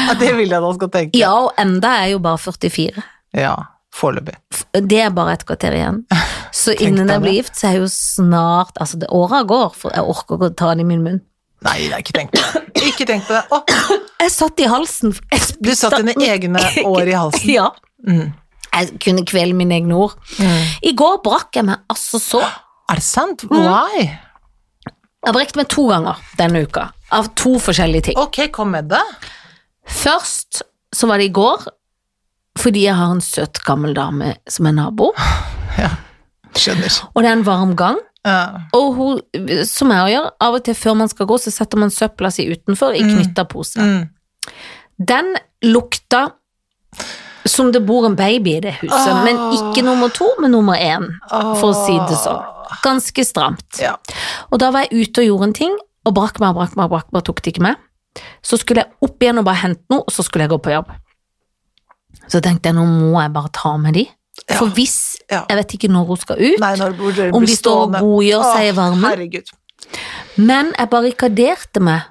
B: ja, det vil jeg da skal tenke.
A: Ja, og enda er jeg jo bare 44.
B: Ja, foreløpig.
A: Det er bare et kvarter igjen. Så
B: Tenk
A: innen
B: deg
A: jeg blir
B: det.
A: gift, så er jeg jo snart Altså, det åra går, for jeg orker ikke å ta den i min munn.
B: Nei, nei, ikke tenk på det. Ikke tenk på det. Å,
A: Jeg satt i halsen. Jeg
B: du
A: spyttet-
B: satt dine egne år i halsen.
A: Ja.
B: Mm.
A: Jeg kunne kvele mine egne ord.
B: Mm.
A: I går brakk jeg meg altså så
B: Er det
A: Mm.
B: sant? Why?
A: Jeg har brekt meg to ganger denne uka, av to forskjellige ting.
B: Ok, kom med det.
A: Først så var det i går, fordi jeg har en søt, gammel dame som er nabo,
B: Skjønner.
A: og det er en varm gang.
B: Ja.
A: Og hun, som jeg gjør, av og til før man skal gå, så setter man søpla si utenfor i
B: Mm.
A: knytta pose.
B: Mm.
A: Den lukta som det bor en baby i det huset,
B: Åh.
A: men ikke nummer to, men nummer én, for å si det sånn. Ganske stramt.
B: Ja.
A: Og da var jeg ute og gjorde en ting, og brakk meg, brakk meg, brakk meg, tok det ikke med. Så skulle jeg opp igjen og bare hente noe, og så skulle jeg gå på jobb. Så tenkte jeg, nå må jeg bare ta med de.
B: Ja.
A: For hvis,
B: Ja.
A: jeg vet ikke når hun skal ut,
B: Nei, når burde dere
A: om
B: bli
A: de står og
B: stående?
A: godgjør seg i
B: Å,
A: varmen.
B: Herregud.
A: Men jeg barrikaderte meg,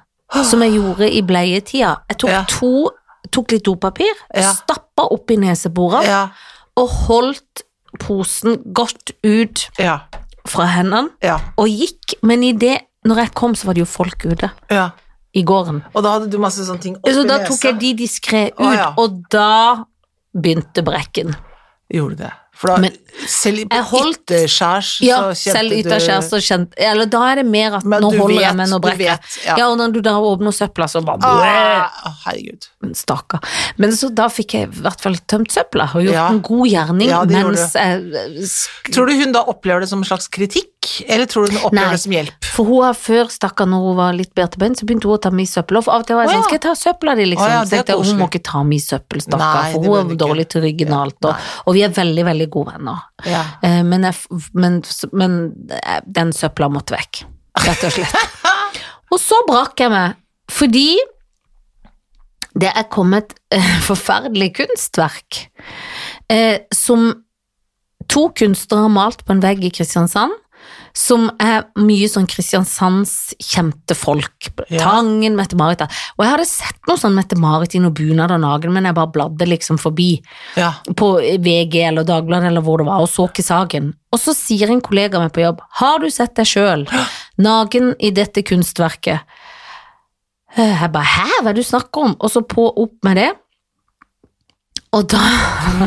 A: som jeg gjorde i bleietida. Jeg tok,
B: Ja.
A: to, tok litt dopapir,
B: Ja.
A: stappa oppi neseborene
B: Ja,
A: og holdt posen godt ut
B: ja,
A: fra hendene
B: ja,
A: og gikk. Men i det, når jeg kom, så var det jo folk ute
B: ja.
A: i gården.
B: Og da hadde du masse sånne ting oppi
A: Så da
B: nesa.
A: tok jeg de diskré ut,
B: Å, ja.
A: og da begynte brekken.
B: Gjorde det. For da,
A: Men-
B: selv på
A: Jeg holdt-
B: ytterskjærs så
A: Ja,
B: kjente
A: selv
B: du
A: ytterskjærs og kjent Eller da er det mer at
B: Men
A: nå
B: du
A: holder
B: vet,
A: jeg meg, nå
B: du
A: brekker jeg.
B: vet,
A: Ja.
B: ja.
A: og når du da åpner søpla, så bare
B: Ah, å, herregud.
A: Men stakkar. Men så da fikk jeg i hvert fall tømt søpla og gjort
B: Ja.
A: en god gjerning
B: Ja, det gjorde
A: mens jeg eh, sk-
B: Tror du hun da opplever det som en slags kritikk, eller tror du hun opplever
A: Nei.
B: det som hjelp?
A: For hun har før, stakkar, når hun var litt bedre til bein, så begynte hun å ta mye søppel. Og for av og til var
B: Å,
A: jeg sånn,
B: ja.
A: skal jeg ta søpla di, liksom?
B: Å, ja,
A: så
B: det er
A: tenkte jeg, hun
B: koselig.
A: må ikke ta mye søppel, stakkar,
B: Nei,
A: for
B: det
A: hun
B: bør
A: er
B: hun ikke.
A: dårlig til ryggen og alt, og, og vi er veldig, veldig gode venner.
B: Ja.
A: Eh, Men, jeg, f- men, s- men eh, den søpla måtte vekk, rett og slett. og så brakk jeg meg, fordi det er kommet eh, forferdelig kunstverk eh, som to kunstnere har malt på en vegg i Kristiansand, som er mye sånn Kristiansands kjente folk.
B: Ja.
A: Tangen, Mette-Marit der. Og jeg hadde sett noe sånn Mette-Marit i noen bunad og nagen, men jeg bare bladde liksom forbi
B: Ja.
A: på VG eller Dagbladet eller hvor det var, og så ikke saken. Og så sier en kollega av meg på jobb, har du sett deg sjøl naken i dette kunstverket? Eh, Jeg bare, hæ, hva er det du snakker om? Og så på opp med det. Og da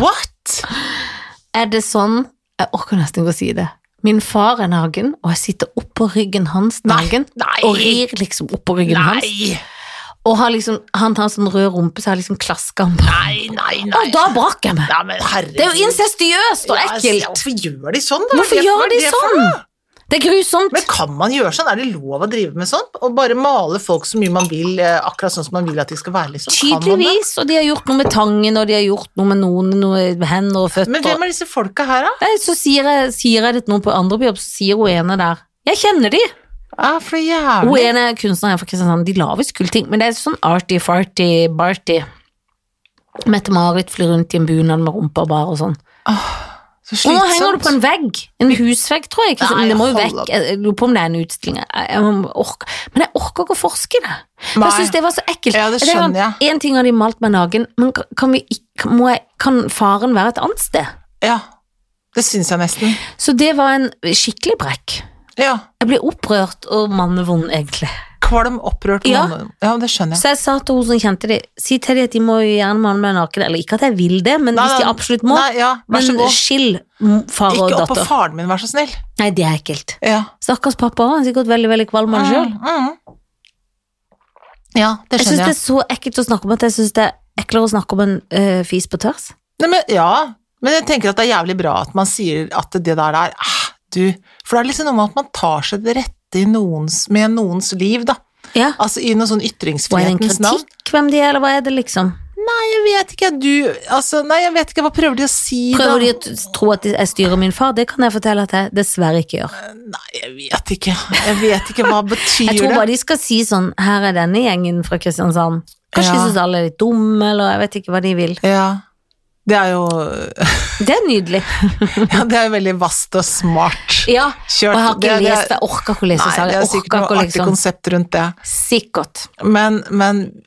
B: What?!
A: er det sånn, jeg orker nesten ikke å si det, min far er naken, og jeg sitter oppå ryggen hans
B: Nei,
A: naken,
B: nei.
A: og rir liksom oppå ryggen hans.
B: Nei!
A: Og har liksom, han har sånn rød rumpe, så jeg har liksom klasker han på.
B: Nei, nei, nei!
A: Og da brakk jeg meg.
B: Nei, men herregud.
A: Det er jo incestiøst og
B: Ja,
A: ekkelt.
B: Hvorfor gjør de sånn, da? Hva er
A: Hvorfor
B: det- hva
A: gjør
B: er
A: de
B: det for
A: sånn?
B: noe?
A: Det er grusomt.
B: Men kan man gjøre sånn? Er det lov å drive med sånn? Og bare male folk så mye man vil, eh, akkurat sånn som man vil at de skal være, liksom? Kan man det?
A: Tydeligvis. Og de har gjort noe med tangen, og de har gjort noe med noen noe med hender og
B: Men
A: føtter.
B: hvem er disse folka her, da?
A: Nei, så sier jeg, sier jeg det til noen på andre på jobb, så sier hun ene der Jeg kjenner de.
B: Ja, for
A: Hun
B: jævlig.
A: ene kunstneren her fra Kristiansand, de lager kule ting, men det er sånn arty-farty-barty. Mette-Marit flyr rundt i en bunad med rumpa bar og sånn.
B: Så
A: Og nå henger du på
B: slitsomt.
A: en vegg. En husvegg, tror jeg. Ikke? sant?
B: Nei,
A: Men det må jo
B: hold
A: vekk.
B: opp.
A: Jeg jeg lurer på om det er en utstilling. Jeg, jeg må orke. Men jeg orker ikke å forske i det. For
B: Nei.
A: jeg syns det var så ekkelt.
B: Ja, det
A: er sånn,
B: skjønner jeg.
A: En ting har de malt meg naken, men kan- kan, vi, ikke- må jeg, kan faren være et annet sted?
B: Ja. Det syns jeg nesten.
A: Så det var en skikkelig brekk.
B: Ja.
A: Jeg ble opprørt og mannevond, egentlig.
B: Kvalm, opprørt
A: Ja.
B: mann. Ja, det skjønner jeg.
A: Så jeg sa til hun som kjente det, si til dem at de må jo gjerne male meg naken, eller ikke at jeg vil det, men
B: Nei,
A: hvis de
B: nei,
A: absolutt må.
B: Nei, ja, vær så
A: men
B: god.
A: skill mm, far og
B: Ikke opp på
A: datter.
B: faren min, vær så snill.
A: Nei, det er ekkelt.
B: Ja.
A: Stakkars pappa også, han er sikkert veldig, veldig kvalm av det sjøl.
B: Mm, mm. Ja, det
A: Jeg syns
B: skjønner
A: det
B: jeg.
A: er så ekkelt å snakke om at jeg syns det er eklere å snakke om en eh, fis på tvers.
B: Nei, men, ja, men jeg tenker at det er jævlig bra at man sier at det der er ah, du For det er liksom noe med at man tar seg det rette i noens, med noens liv, da.
A: Ja.
B: Altså i noe sånn
A: Og er det en
B: ytringsfrihetens navn.
A: kritikk hvem de er, eller hva er det, liksom?
B: Nei, jeg vet ikke, du Altså, nei, jeg vet ikke, hva prøver de å si
A: Prøver de
B: da?
A: å t- tro at de- jeg styrer min far? Det kan jeg fortelle at jeg dessverre ikke gjør.
B: Nei, jeg vet ikke. Jeg vet ikke, hva betyr
A: Jeg tror
B: det?
A: bare de skal si sånn Her er denne gjengen fra Kristiansand. Kanskje de
B: Ja.
A: syns alle er litt dumme, eller jeg vet ikke hva de vil.
B: Ja. Det er jo
A: Det er nydelig.
B: ja, Det er jo veldig vast og smart.
A: Ja.
B: Kjørt.
A: Og jeg har
B: Det-
A: ikke
B: det er-
A: lest, jeg orker ikke å
B: Nei,
A: lese saken.
B: det er
A: Jeg
B: sikkert
A: orker
B: noe
A: ikke å
B: artig
A: liksom
B: konsept rundt det.
A: Sikkert.
B: Men, men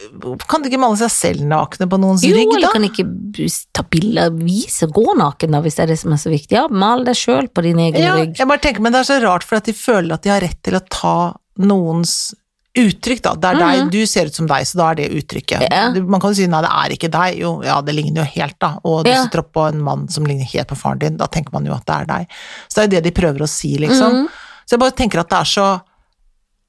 B: kan du ikke male seg selv nakne på noens
A: Jo,
B: rygg,
A: eller
B: da?
A: kan ikke b- ta bilder, vise, gå naken da, hvis det er det som er så viktig. Ja, mal deg sjøl på din egen
B: Ja,
A: rygg.
B: jeg bare tenker, men det er så rart, for at de føler at de har rett til å ta noens uttrykk, da. Det er
A: Mhm.
B: deg, du ser ut som deg, så da er det uttrykket.
A: Ja.
B: Du- Man kan jo si nei, det er ikke deg. Jo, ja, det ligner jo helt, da. Og du
A: Ja.
B: sitter oppå en mann som ligner helt på faren din, da tenker man jo at det er deg. Så det er jo det de prøver å si, liksom.
A: Mhm.
B: Så jeg bare tenker at det er så,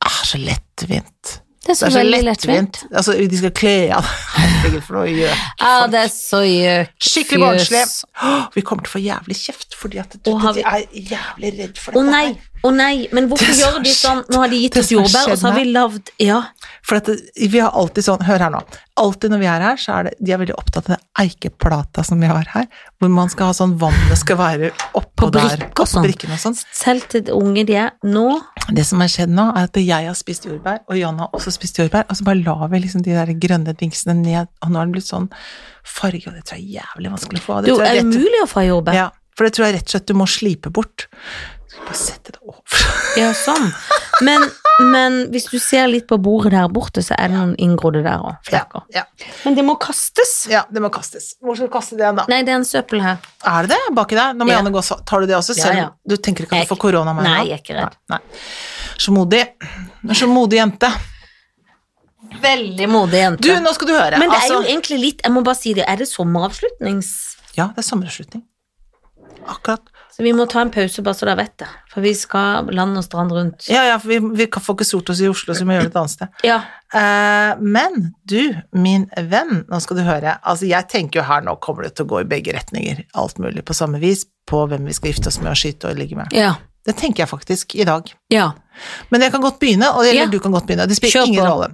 B: er så lettvint.
A: Det er så,
B: Det er så
A: veldig
B: lettvint.
A: lettvint.
B: Altså, de skal kle av Herregud, for noe gjøk.
A: Ja, det er så gjøk.
B: Skikkelig
A: fjøs.
B: barnslig. Åh, Vi kommer til å få jævlig kjeft, fordi at du,
A: Å, har
B: de er jævlig redd for
A: Å
B: dette
A: nei,
B: her.
A: å nei, men hvorfor
B: Det som
A: gjør de sånn?
B: har skjedd.
A: Nå har de gitt
B: Det
A: oss
B: som har
A: jordbær, og så har vi
B: skjedd
A: lagd Ja.
B: For at det- vi har alltid sånn, hør her nå, alltid når vi er her, så er det, de er veldig opptatt av den eikeplata som vi har her, hvor man skal ha sånn vann, det skal være
A: På
B: oppå der,
A: brikker og
B: oppå
A: sånn.
B: brikken og sånn.
A: Selv til de unge de er nå
B: Det som har skjedd nå, er at jeg har spist jordbær, og Jan har også spist jordbær, og så bare la vi liksom de der grønne dingsene ned, og nå har den blitt sånn farge, og det tror jeg er jævlig vanskelig å få av.
A: Det
B: tror
A: er
B: jeg
A: jo
B: rett-
A: umulig å få jordbær.
B: Ja,
A: Ja.
B: for det tror jeg rett og slett du må slipe bort. Skal bare sette det over.
A: sånn. Men, men hvis du ser litt på bordet der borte, så er det noen inngrodde der òg. Flekker.
B: Ja,
A: Men det må kastes.
B: ja, det må kastes. Hvor skal du kaste det da?
A: Nei, det er en søppel her.
B: Er det det baki der? Nå må
A: Ja.
B: Janne gå, så tar du det også,
A: Ja,
B: selv om
A: ja.
B: du tenker ikke at
A: Jeg-
B: du får korona med
A: Nei,
B: nå?
A: jeg er ikke redd.
B: Nei, nei. Så modig. Du er Så modig jente.
A: Veldig modig jente.
B: Du, nå skal du høre.
A: men det er jo
B: Altså,
A: egentlig litt Jeg må bare si det, er det sommeravslutnings...
B: Ja, det er sommeravslutning. Akkurat.
A: Så vi må ta en pause, bare så dere vet det. For vi skal land og strand rundt.
B: Ja, ja, for vi, vi kan- får ikke solt oss i Oslo, så vi må gjøre det et annet sted.
A: Ja.
B: Eh, men du, min venn, nå skal du høre. Altså, jeg tenker jo her nå kommer det til å gå i begge retninger, alt mulig på samme vis, på hvem vi skal gifte oss med og skyte og ligge med.
A: Ja.
B: Det tenker jeg faktisk i dag.
A: ja.
B: Men jeg kan godt begynne, og eller
A: Ja.
B: du kan godt begynne. Det spiller
A: Kjør
B: ingen
A: på.
B: rolle.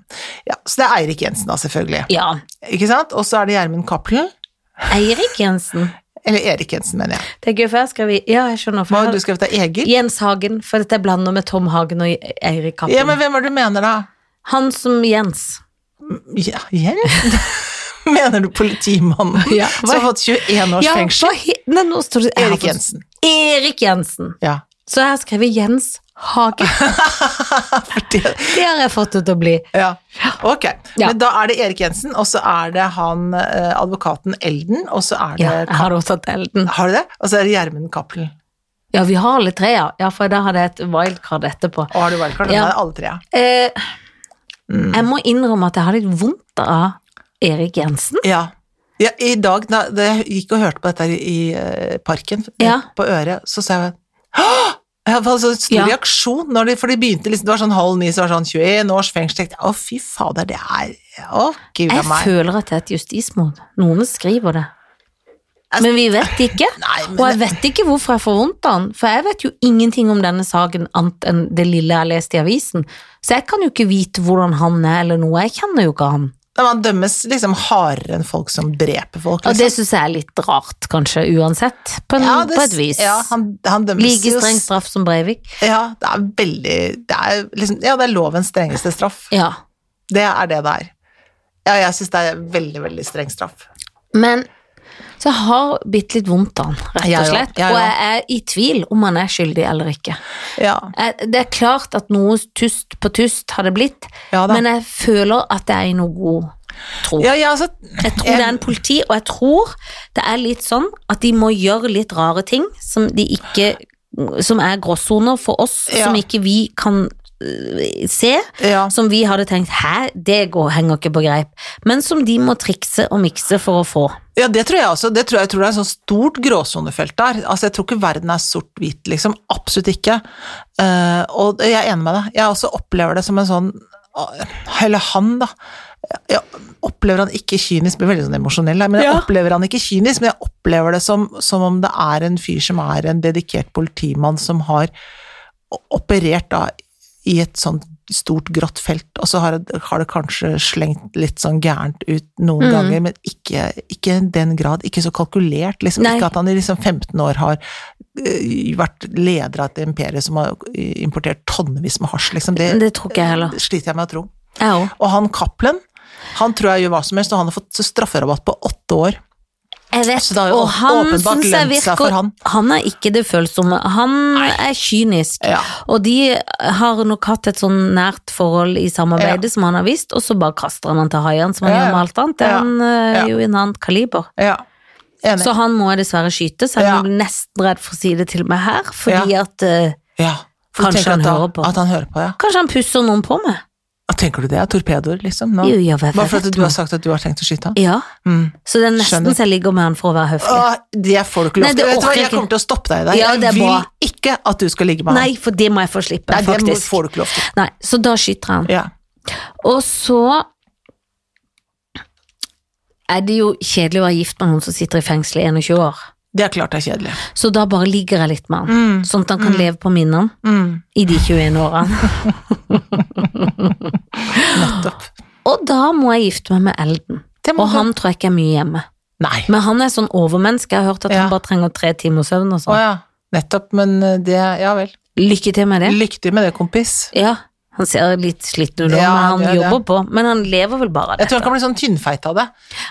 B: Ja, så det er Eirik Jensen, da, selvfølgelig.
A: ja.
B: Ikke sant? Og så er det Gjermund Cappelen.
A: Eirik Jensen.
B: Eller Erik Jensen, mener jeg.
A: Det er gøy, for jeg skrev i- Ja, jeg skjønner.
B: Hva
A: For
B: har du
A: jeg,
B: skrevet av Egil?
A: Jens Hagen, for dette er blander med Tom Hagen og Eirik Kappen.
B: Ja, men hvem er det du mener, da?
A: Han som Jens.
B: Ja, Jens? Mener du politimannen
A: Ja,
B: som har fått 21 års
A: Ja,
B: fengsel?
A: hva he- Nei, nå står det jeg har
B: Erik
A: fått-
B: Jensen.
A: Erik Jensen.
B: Ja.
A: Så jeg har skrevet Jens hage.
B: Fordi,
A: Det har jeg fått det til å bli.
B: ja. Ok,
A: Ja.
B: men da er det Erik Jensen, og så er det han eh, advokaten Elden, og så er det
A: Ja, jeg har også tatt Elden.
B: Har du det? Og så er det Gjermund Cappelen.
A: Ja, vi har alle tre, ja. ja for da hadde jeg et wildcard etterpå.
B: Og har du wildcard?
A: Ja.
B: Ja. Alle tre, ja.
A: Eh,
B: Mm.
A: Jeg må innrømme at jeg har litt vondt av Erik Jensen.
B: ja. Ja, I dag, da da jeg gikk og hørte på dette her i eh, parken,
A: Ja.
B: på øret, så sa jeg «Åh!» Jeg hadde så stor
A: Ja.
B: reaksjon, når de, for de begynte liksom, det var sånn halv ni, så var det sånn 21 års fengsel. Jeg tenkte, Å, fy fader, det er Å, gud
A: Jeg
B: a meg.
A: føler at det er et justismord. Noen skriver det. Men vi vet ikke.
B: Altså, Nei, men
A: Og jeg vet ikke hvorfor jeg får vondt av den, for jeg vet jo ingenting om denne saken annet enn det lille jeg har lest i avisen. Så jeg kan jo ikke vite hvordan han er eller noe, jeg kjenner jo ikke han.
B: Nei, Man dømmes liksom hardere enn folk som dreper folk.
A: Og
B: Liksom.
A: det syns jeg er litt rart, kanskje, uansett, på, en,
B: Ja, det-
A: på et vis.
B: Ja, han, han dømmes
A: like
B: jo s-
A: streng straff som Breivik.
B: Ja, det er veldig det er liksom, Ja, det er lovens strengeste straff.
A: Ja.
B: Det er det det er. Ja, jeg syns det er veldig, veldig streng straff.
A: Men så jeg har bitte litt vondt av han, rett
B: Jeg
A: og
B: òg,
A: slett.
B: jeg
A: Og
B: òg.
A: jeg er i tvil om han er skyldig eller ikke.
B: Ja.
A: Jeg, Eh, det er klart at noe tust på tust har det blitt,
B: Ja da.
A: men jeg føler at det er i noe god tro.
B: Ja, ja, altså,
A: Jeg tror det er en politi, og jeg tror det er litt sånn at de må gjøre litt rare ting som de ikke Som er gråsoner for oss,
B: Ja.
A: som ikke vi kan øh, se.
B: ja.
A: Som vi hadde tenkt 'hæ, det går, henger ikke på greip', men som de må trikse og mikse for å få.
B: ja, det tror jeg også. Det tror jeg, jeg tror det er et sånt stort gråsonefelt der. Altså, jeg tror ikke verden er sort-hvit, liksom. Absolutt ikke. Eh, og jeg er enig med deg. Jeg også opplever det som en sånn Eller han, da. Jeg opplever han ikke kynisk, blir veldig sånn emosjonell her, men jeg
A: Ja.
B: opplever han ikke kynisk, men jeg opplever det som, som om det er en fyr som er en dedikert politimann som har operert da i et sånt stort grått felt, og så har det, har det kanskje slengt litt sånn gærent ut
A: Mm.
B: noen ganger, men ikke, ikke i den grad, ikke så kalkulert, liksom.
A: Nei.
B: Ikke at han i liksom 15 år har eh, vært leder av et imperium som har eh, importert tonnevis med hasj, liksom. Det,
A: Det tror ikke jeg heller.
B: sliter jeg med å tro.
A: Jeg òg.
B: Og han Cappelen, han tror jeg gjør hva som helst, og han har fått strafferabatt på åtte år.
A: Jeg vet,
B: Så det har jo
A: og han
B: åpenbart
A: synes jeg
B: lønt seg
A: virker
B: for han.
A: er ikke det følsomme. Han er kynisk.
B: Ja.
A: Og de har nok hatt et sånn nært forhold i samarbeidet som han har visst, og så bare kaster han han til haiene som han
B: Ja, ja.
A: gjør med alt annet. Det er
B: Ja.
A: Han eh,
B: Ja.
A: jo i en annen kaliber.
B: Ja. Enig.
A: Så han må jeg dessverre skyte, så jeg
B: Ja.
A: er nesten redd for å si det til meg her, fordi at eh,
B: ja. For du
A: Kanskje
B: tenker
A: han
B: at da-
A: hører på.
B: At han hører på, ja.
A: kanskje han pusser noen på meg.
B: Og Tenker du det? er Torpedoer, liksom? Nå?
A: Jo, ja, hva- hva
B: Bare for
A: vet
B: at du har
A: man?
B: sagt at du har tenkt å skyte han?
A: Ja,
B: Mm.
A: så det er nesten
B: Skjønner.
A: så jeg ligger med han for å være høflig.
B: Åh, det får du ikke
A: Nei,
B: lov til.
A: det
B: Vet du hva,
A: orker jeg
B: jeg kommer
A: ikke.
B: til å stoppe deg der.
A: Ja, det er
B: jeg vil
A: bra.
B: ikke at du skal ligge med
A: Nei,
B: han.
A: for det må jeg få slippe,
B: Nei, det må-
A: faktisk.
B: får du ikke lov til.
A: Nei, så da skyter jeg han.
B: Ja.
A: Og så er det jo kjedelig å være gift med noen som sitter i fengsel i 21 år.
B: Det er klart det er kjedelig.
A: Så da bare ligger jeg litt med han, sånn at han kan leve på minnene
B: Mm.
A: i de 21 årene.
B: Nettopp.
A: Og da må jeg gifte meg med Elden.
B: Det må
A: Og
B: du.
A: han tror jeg ikke er mye hjemme.
B: Nei.
A: Men han er sånn overmenneske, jeg har hørt at
B: Ja.
A: han bare trenger tre timer søvn og
B: Å
A: sånn.
B: ja. Nettopp, men eh, det Ja vel.
A: Lykke til med det.
B: Lykke til med det, kompis.
A: Ja, han ser litt sliten ut, nå,
B: Ja,
A: men
B: det er
A: han
B: det.
A: jobber på. Men han lever vel bare av
B: Jeg tror han
A: dette.
B: kan bli sånn tynnfeit av det.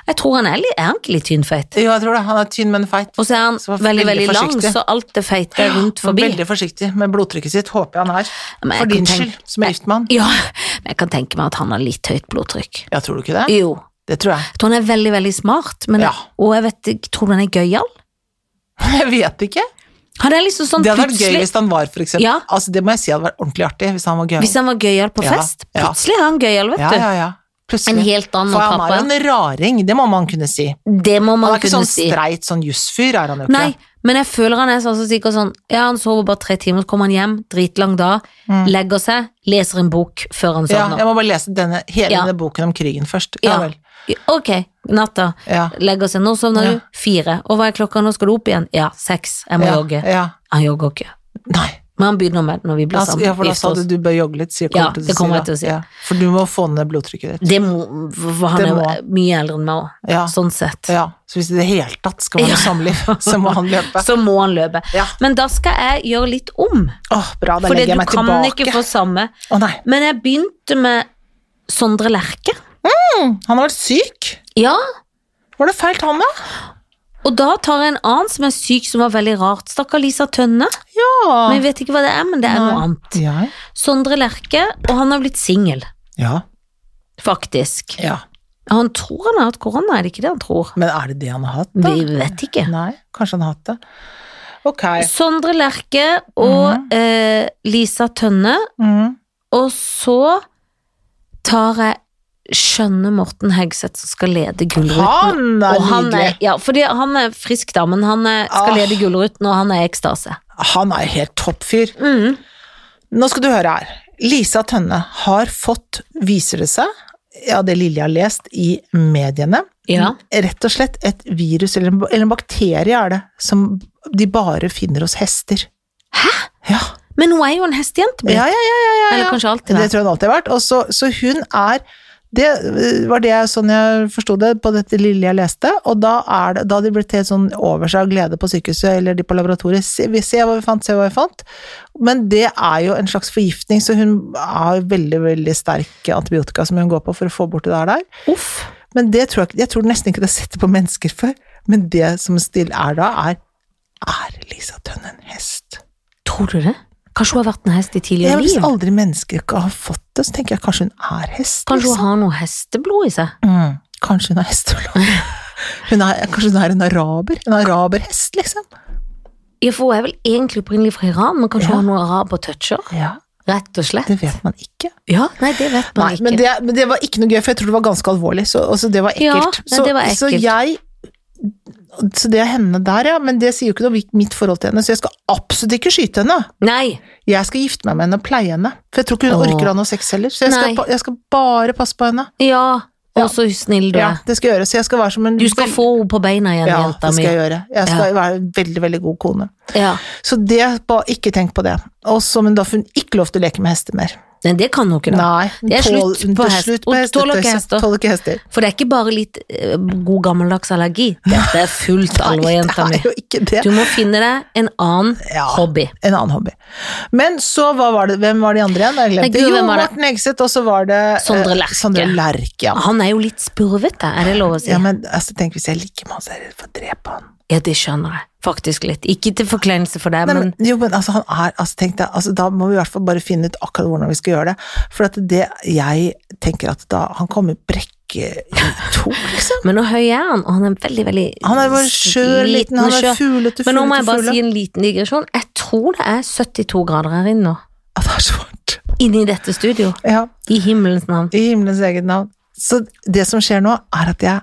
A: Jeg tror han er, litt- er han ikke litt tynnfeit.
B: Jo, jeg tror det. Han er tynn, men feit.
A: Og så er han
B: Så var
A: veldig, veldig,
B: veldig
A: lang,
B: forsiktig.
A: så alt det feite er rundt forbi.
B: Veldig forsiktig med blodtrykket sitt, håper jeg han er.
A: Men jeg
B: For
A: kan
B: din
A: tenke-
B: skyld, som er gift med han.
A: Ja, men jeg kan tenke meg at han har litt høyt blodtrykk.
B: Ja, tror du ikke det?
A: Jo.
B: Det tror jeg.
A: Jeg tror han er veldig, veldig smart, men
B: Ja.
A: og jeg vet ikke, tror du han er gøyal?
B: Jeg vet ikke.
A: Han er liksom sånn
B: Det hadde vært gøy
A: plutselig
B: hvis han var, for eksempel.
A: Ja.
B: Altså, det må jeg si hadde vært ordentlig artig hvis han var gøy.
A: Hvis han var gøyal på
B: Ja,
A: fest,
B: ja.
A: plutselig er han gøyal, vet
B: Ja,
A: du.
B: ja, ja. Plutselig.
A: En helt annen
B: For han er jo
A: pappa.
B: en raring, det må man kunne si.
A: Det må
B: Han
A: man
B: er ikke
A: kunne
B: sånn
A: si.
B: streit sånn jussfyr, er han jo ikke.
A: Nei, men jeg føler han er sånn som sikkert sånn Ja, han sover bare tre timer, så kommer han hjem, dritlang dag, legger seg, leser en bok før han
B: Mm. ja,
A: sovner.
B: jeg må bare lese denne, hele
A: Sånn, Ja.
B: denne boken om krigen først. Ja, vel.
A: Ok, natta.
B: Ja.
A: Legger seg. Nå sovner
B: Ja.
A: du. Fire. Og hva er klokka? Nå skal du opp igjen? Ja, seks. Jeg må
B: Ja,
A: jogge.
B: ja.
A: Han jogger ikke.
B: Nei.
A: Men han begynner med det når vi blir
B: Altså,
A: sammen.
B: ja, for da
A: gifter
B: sa du
A: oss.
B: du bør jogge litt, sier
A: Ja,
B: kommer til å
A: det kommer
B: si,
A: jeg
B: da.
A: til å si.
B: Ja, for du må få ned blodtrykket ditt.
A: Det må, for han
B: Det
A: er
B: må
A: jo mye eldre enn meg òg,
B: Ja.
A: sånn sett.
B: Ja, så hvis det i det hele tatt skal være noe samliv, så må han løpe.
A: Så må han løpe.
B: Ja.
A: Men da skal jeg gjøre litt om.
B: Åh, bra, da
A: For
B: legger
A: du
B: jeg meg
A: kan ikke
B: tilbake.
A: få samme.
B: Å nei,
A: Men jeg begynte med Sondre Lerche.
B: han har vært syk.
A: Ja,
B: Var det feil han da?
A: Og da tar jeg en annen som er syk, som var veldig rart. Stakkar Lisa Tønne.
B: Ja.
A: Men jeg vet ikke hva det er, men det er noe
B: Nei.
A: annet.
B: ja.
A: Sondre Lerche, og han har blitt singel,
B: Ja.
A: faktisk.
B: ja.
A: Han tror han har hatt korona, er det ikke det han tror?
B: Men er det det han har hatt, da?
A: Vi vet ikke.
B: Nei, kanskje han har hatt det. Ok.
A: Sondre Lerche og
B: Mhm.
A: eh, Lisa Tønne,
B: Mm.
A: og så tar jeg skjønne Morten Hegseth som skal lede Gullruten.
B: Han er
A: Og han
B: nydelig.
A: er, ja, fordi han er frisk da, men han er, skal
B: Ah.
A: lede Gullruten, og han er i ekstase.
B: Han er helt topp fyr.
A: Mm.
B: Nå skal du høre her. Lisa Tønne har fått, viser det seg, ja, det lille jeg har lest i mediene,
A: Ja.
B: rett og slett et virus, eller en, eller en bakterie er det, som de bare finner hos hester. Hæ? Ja,
A: Men hun er jo en hestejente, blitt.
B: ja, ja. ja, ja, ja.
A: eller kanskje alltid
B: Det
A: vært.
B: tror jeg hun alltid har vært. Og så, så hun er Det øh, var det jeg- sånn jeg forsto det på dette lille jeg leste, og da er det Da de ble helt sånn over seg av glede på sykehuset eller de på laboratoriet se, vi- se hva vi fant, se hva vi fant. Men det er jo en slags forgiftning, så hun har veldig, veldig sterk antibiotika som hun går på for å få bort det der der.
A: Uff.
B: Men det tror jeg, ikke- jeg tror nesten ikke det er sett på mennesker før. Men det som still er da, er Er Lisa Tønn en hest?
A: Tror du det? Kanskje hun har vært en hest i
B: Ja,
A: tidligere
B: hvis
A: liv?
B: aldri mennesker ikke har fått det, så tenker jeg kanskje hun er hest.
A: Kanskje
B: liksom.
A: hun har noe hesteblod i seg?
B: Mm. Kanskje hun er hestolog. Hun er, kanskje hun er en araber? En araberhest, liksom?
A: Ja, for hun er vel egentlig opprinnelig fra Iran, men kanskje
B: Ja.
A: hun har noe araber-toucher?
B: Ja.
A: Rett og slett.
B: Det vet man ikke.
A: Ja, nei, det vet man
B: Nei,
A: ikke.
B: men det, men det var ikke noe gøy, for jeg tror det var ganske alvorlig. Så, og så det var
A: Ja,
B: ekkelt.
A: nei,
B: så,
A: det var
B: så
A: ekkelt.
B: jeg Så det er henne der, ja. Men det sier jo ikke noe om mitt forhold til henne, så jeg skal absolutt ikke skyte henne.
A: Nei,
B: Jeg skal gifte meg med henne og pleie henne. For jeg tror ikke hun
A: Åh.
B: orker å ha noe sex heller. Så jeg skal,
A: Nei.
B: ba- jeg skal bare passe på henne.
A: ja,
B: Ja.
A: og så snill du
B: Ja,
A: er.
B: det skal jeg gjøre. Så jeg skal være som en
A: Du skal
B: veld-
A: få henne på beina igjen,
B: Ja,
A: jenta
B: det skal
A: mi.
B: jeg gjøre. Jeg skal være en veldig, veldig god kone.
A: Ja.
B: Så det, ba- ikke tenk på det. Og så, men da får hun ikke lov til å leke med hester mer.
A: Men det kan hun ikke, da.
B: Nei, hun
A: Det er
B: tål-
A: slutt
B: hun
A: på
B: tar
A: hest.
B: slutt
A: Hun
B: med hester.
A: tåler ikke hester.
B: Tåler ikke hester.
A: For det er ikke bare litt eh, god gammeldags allergi. Dette er fullt alvor,
B: Nei,
A: jenta
B: det
A: mi.
B: er jo ikke
A: Du
B: det.
A: må finne deg en annen
B: Ja.
A: hobby.
B: En annen hobby. Men så, hva var det, hvem var de andre igjen? Jeg
A: Nei,
B: glemte.
A: gud,
B: Jo,
A: hvem var det?
B: Morten Hegseth, og så var det eh,
A: Sondre Lerche.
B: Sondre Lerche, ja.
A: Han er jo litt spurvete, er det lov å si?
B: ja.
A: Ja,
B: Men altså, tenk hvis jeg liker med han, så er jeg redd for å drepe han.
A: det skjønner jeg. Faktisk litt. Ikke til forkleinelse for deg,
B: Nei,
A: men
B: men, jo, men altså, han er, altså, tenk deg, altså, da må vi i hvert fall bare finne ut akkurat hvordan vi skal gjøre det. For at det, jeg tenker at da, han kommer brekke i to, liksom.
A: Men hvor høy er han? Og han er veldig, veldig
B: Han er bare skjør liten, han er
A: skjør.
B: fuglete,
A: Men nå må jeg
B: fuglete,
A: bare si
B: fuglete.
A: en liten digresjon. Jeg tror det er 72 grader her inne nå.
B: Ja, det er svart.
A: Inne i dette studio.
B: Ja,
A: I himmelens navn.
B: i himmelens eget navn. Så det som skjer nå, er at jeg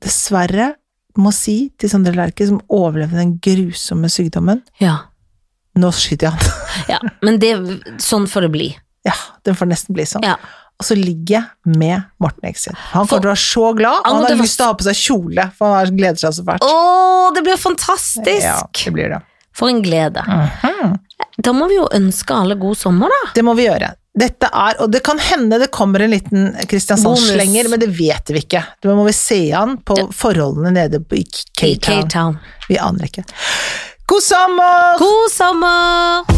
B: dessverre må si til Sondre Lerche, som overlevde den grusomme sykdommen,
A: Ja.
B: nå skyter jeg han.
A: ja. Men det, sånn får det bli.
B: Ja, den får nesten bli sånn.
A: Ja.
B: Og så ligger jeg med Morten Eksel. Han
A: For-
B: kommer til å være så glad, og
A: Han
B: han har
A: kommer til å-
B: lyst til å ha på seg kjole, for han har- gleder seg så fælt.
A: Å, det blir
B: Ja, Mhm.
A: fantastisk!
B: det blir det.
A: For en glede. Da må vi jo ønske alle god sommer, da.
B: Det må vi gjøre. Dette er, og det kan hende det kommer en liten Kristiansand-slenger,
A: Bonus.
B: men det vet vi ikke. Det må vi se an på forholdene nede på- i K-
A: I
B: Cape Town.
A: K-Town.
B: Vi aner ikke. God sommer!
A: God sommer!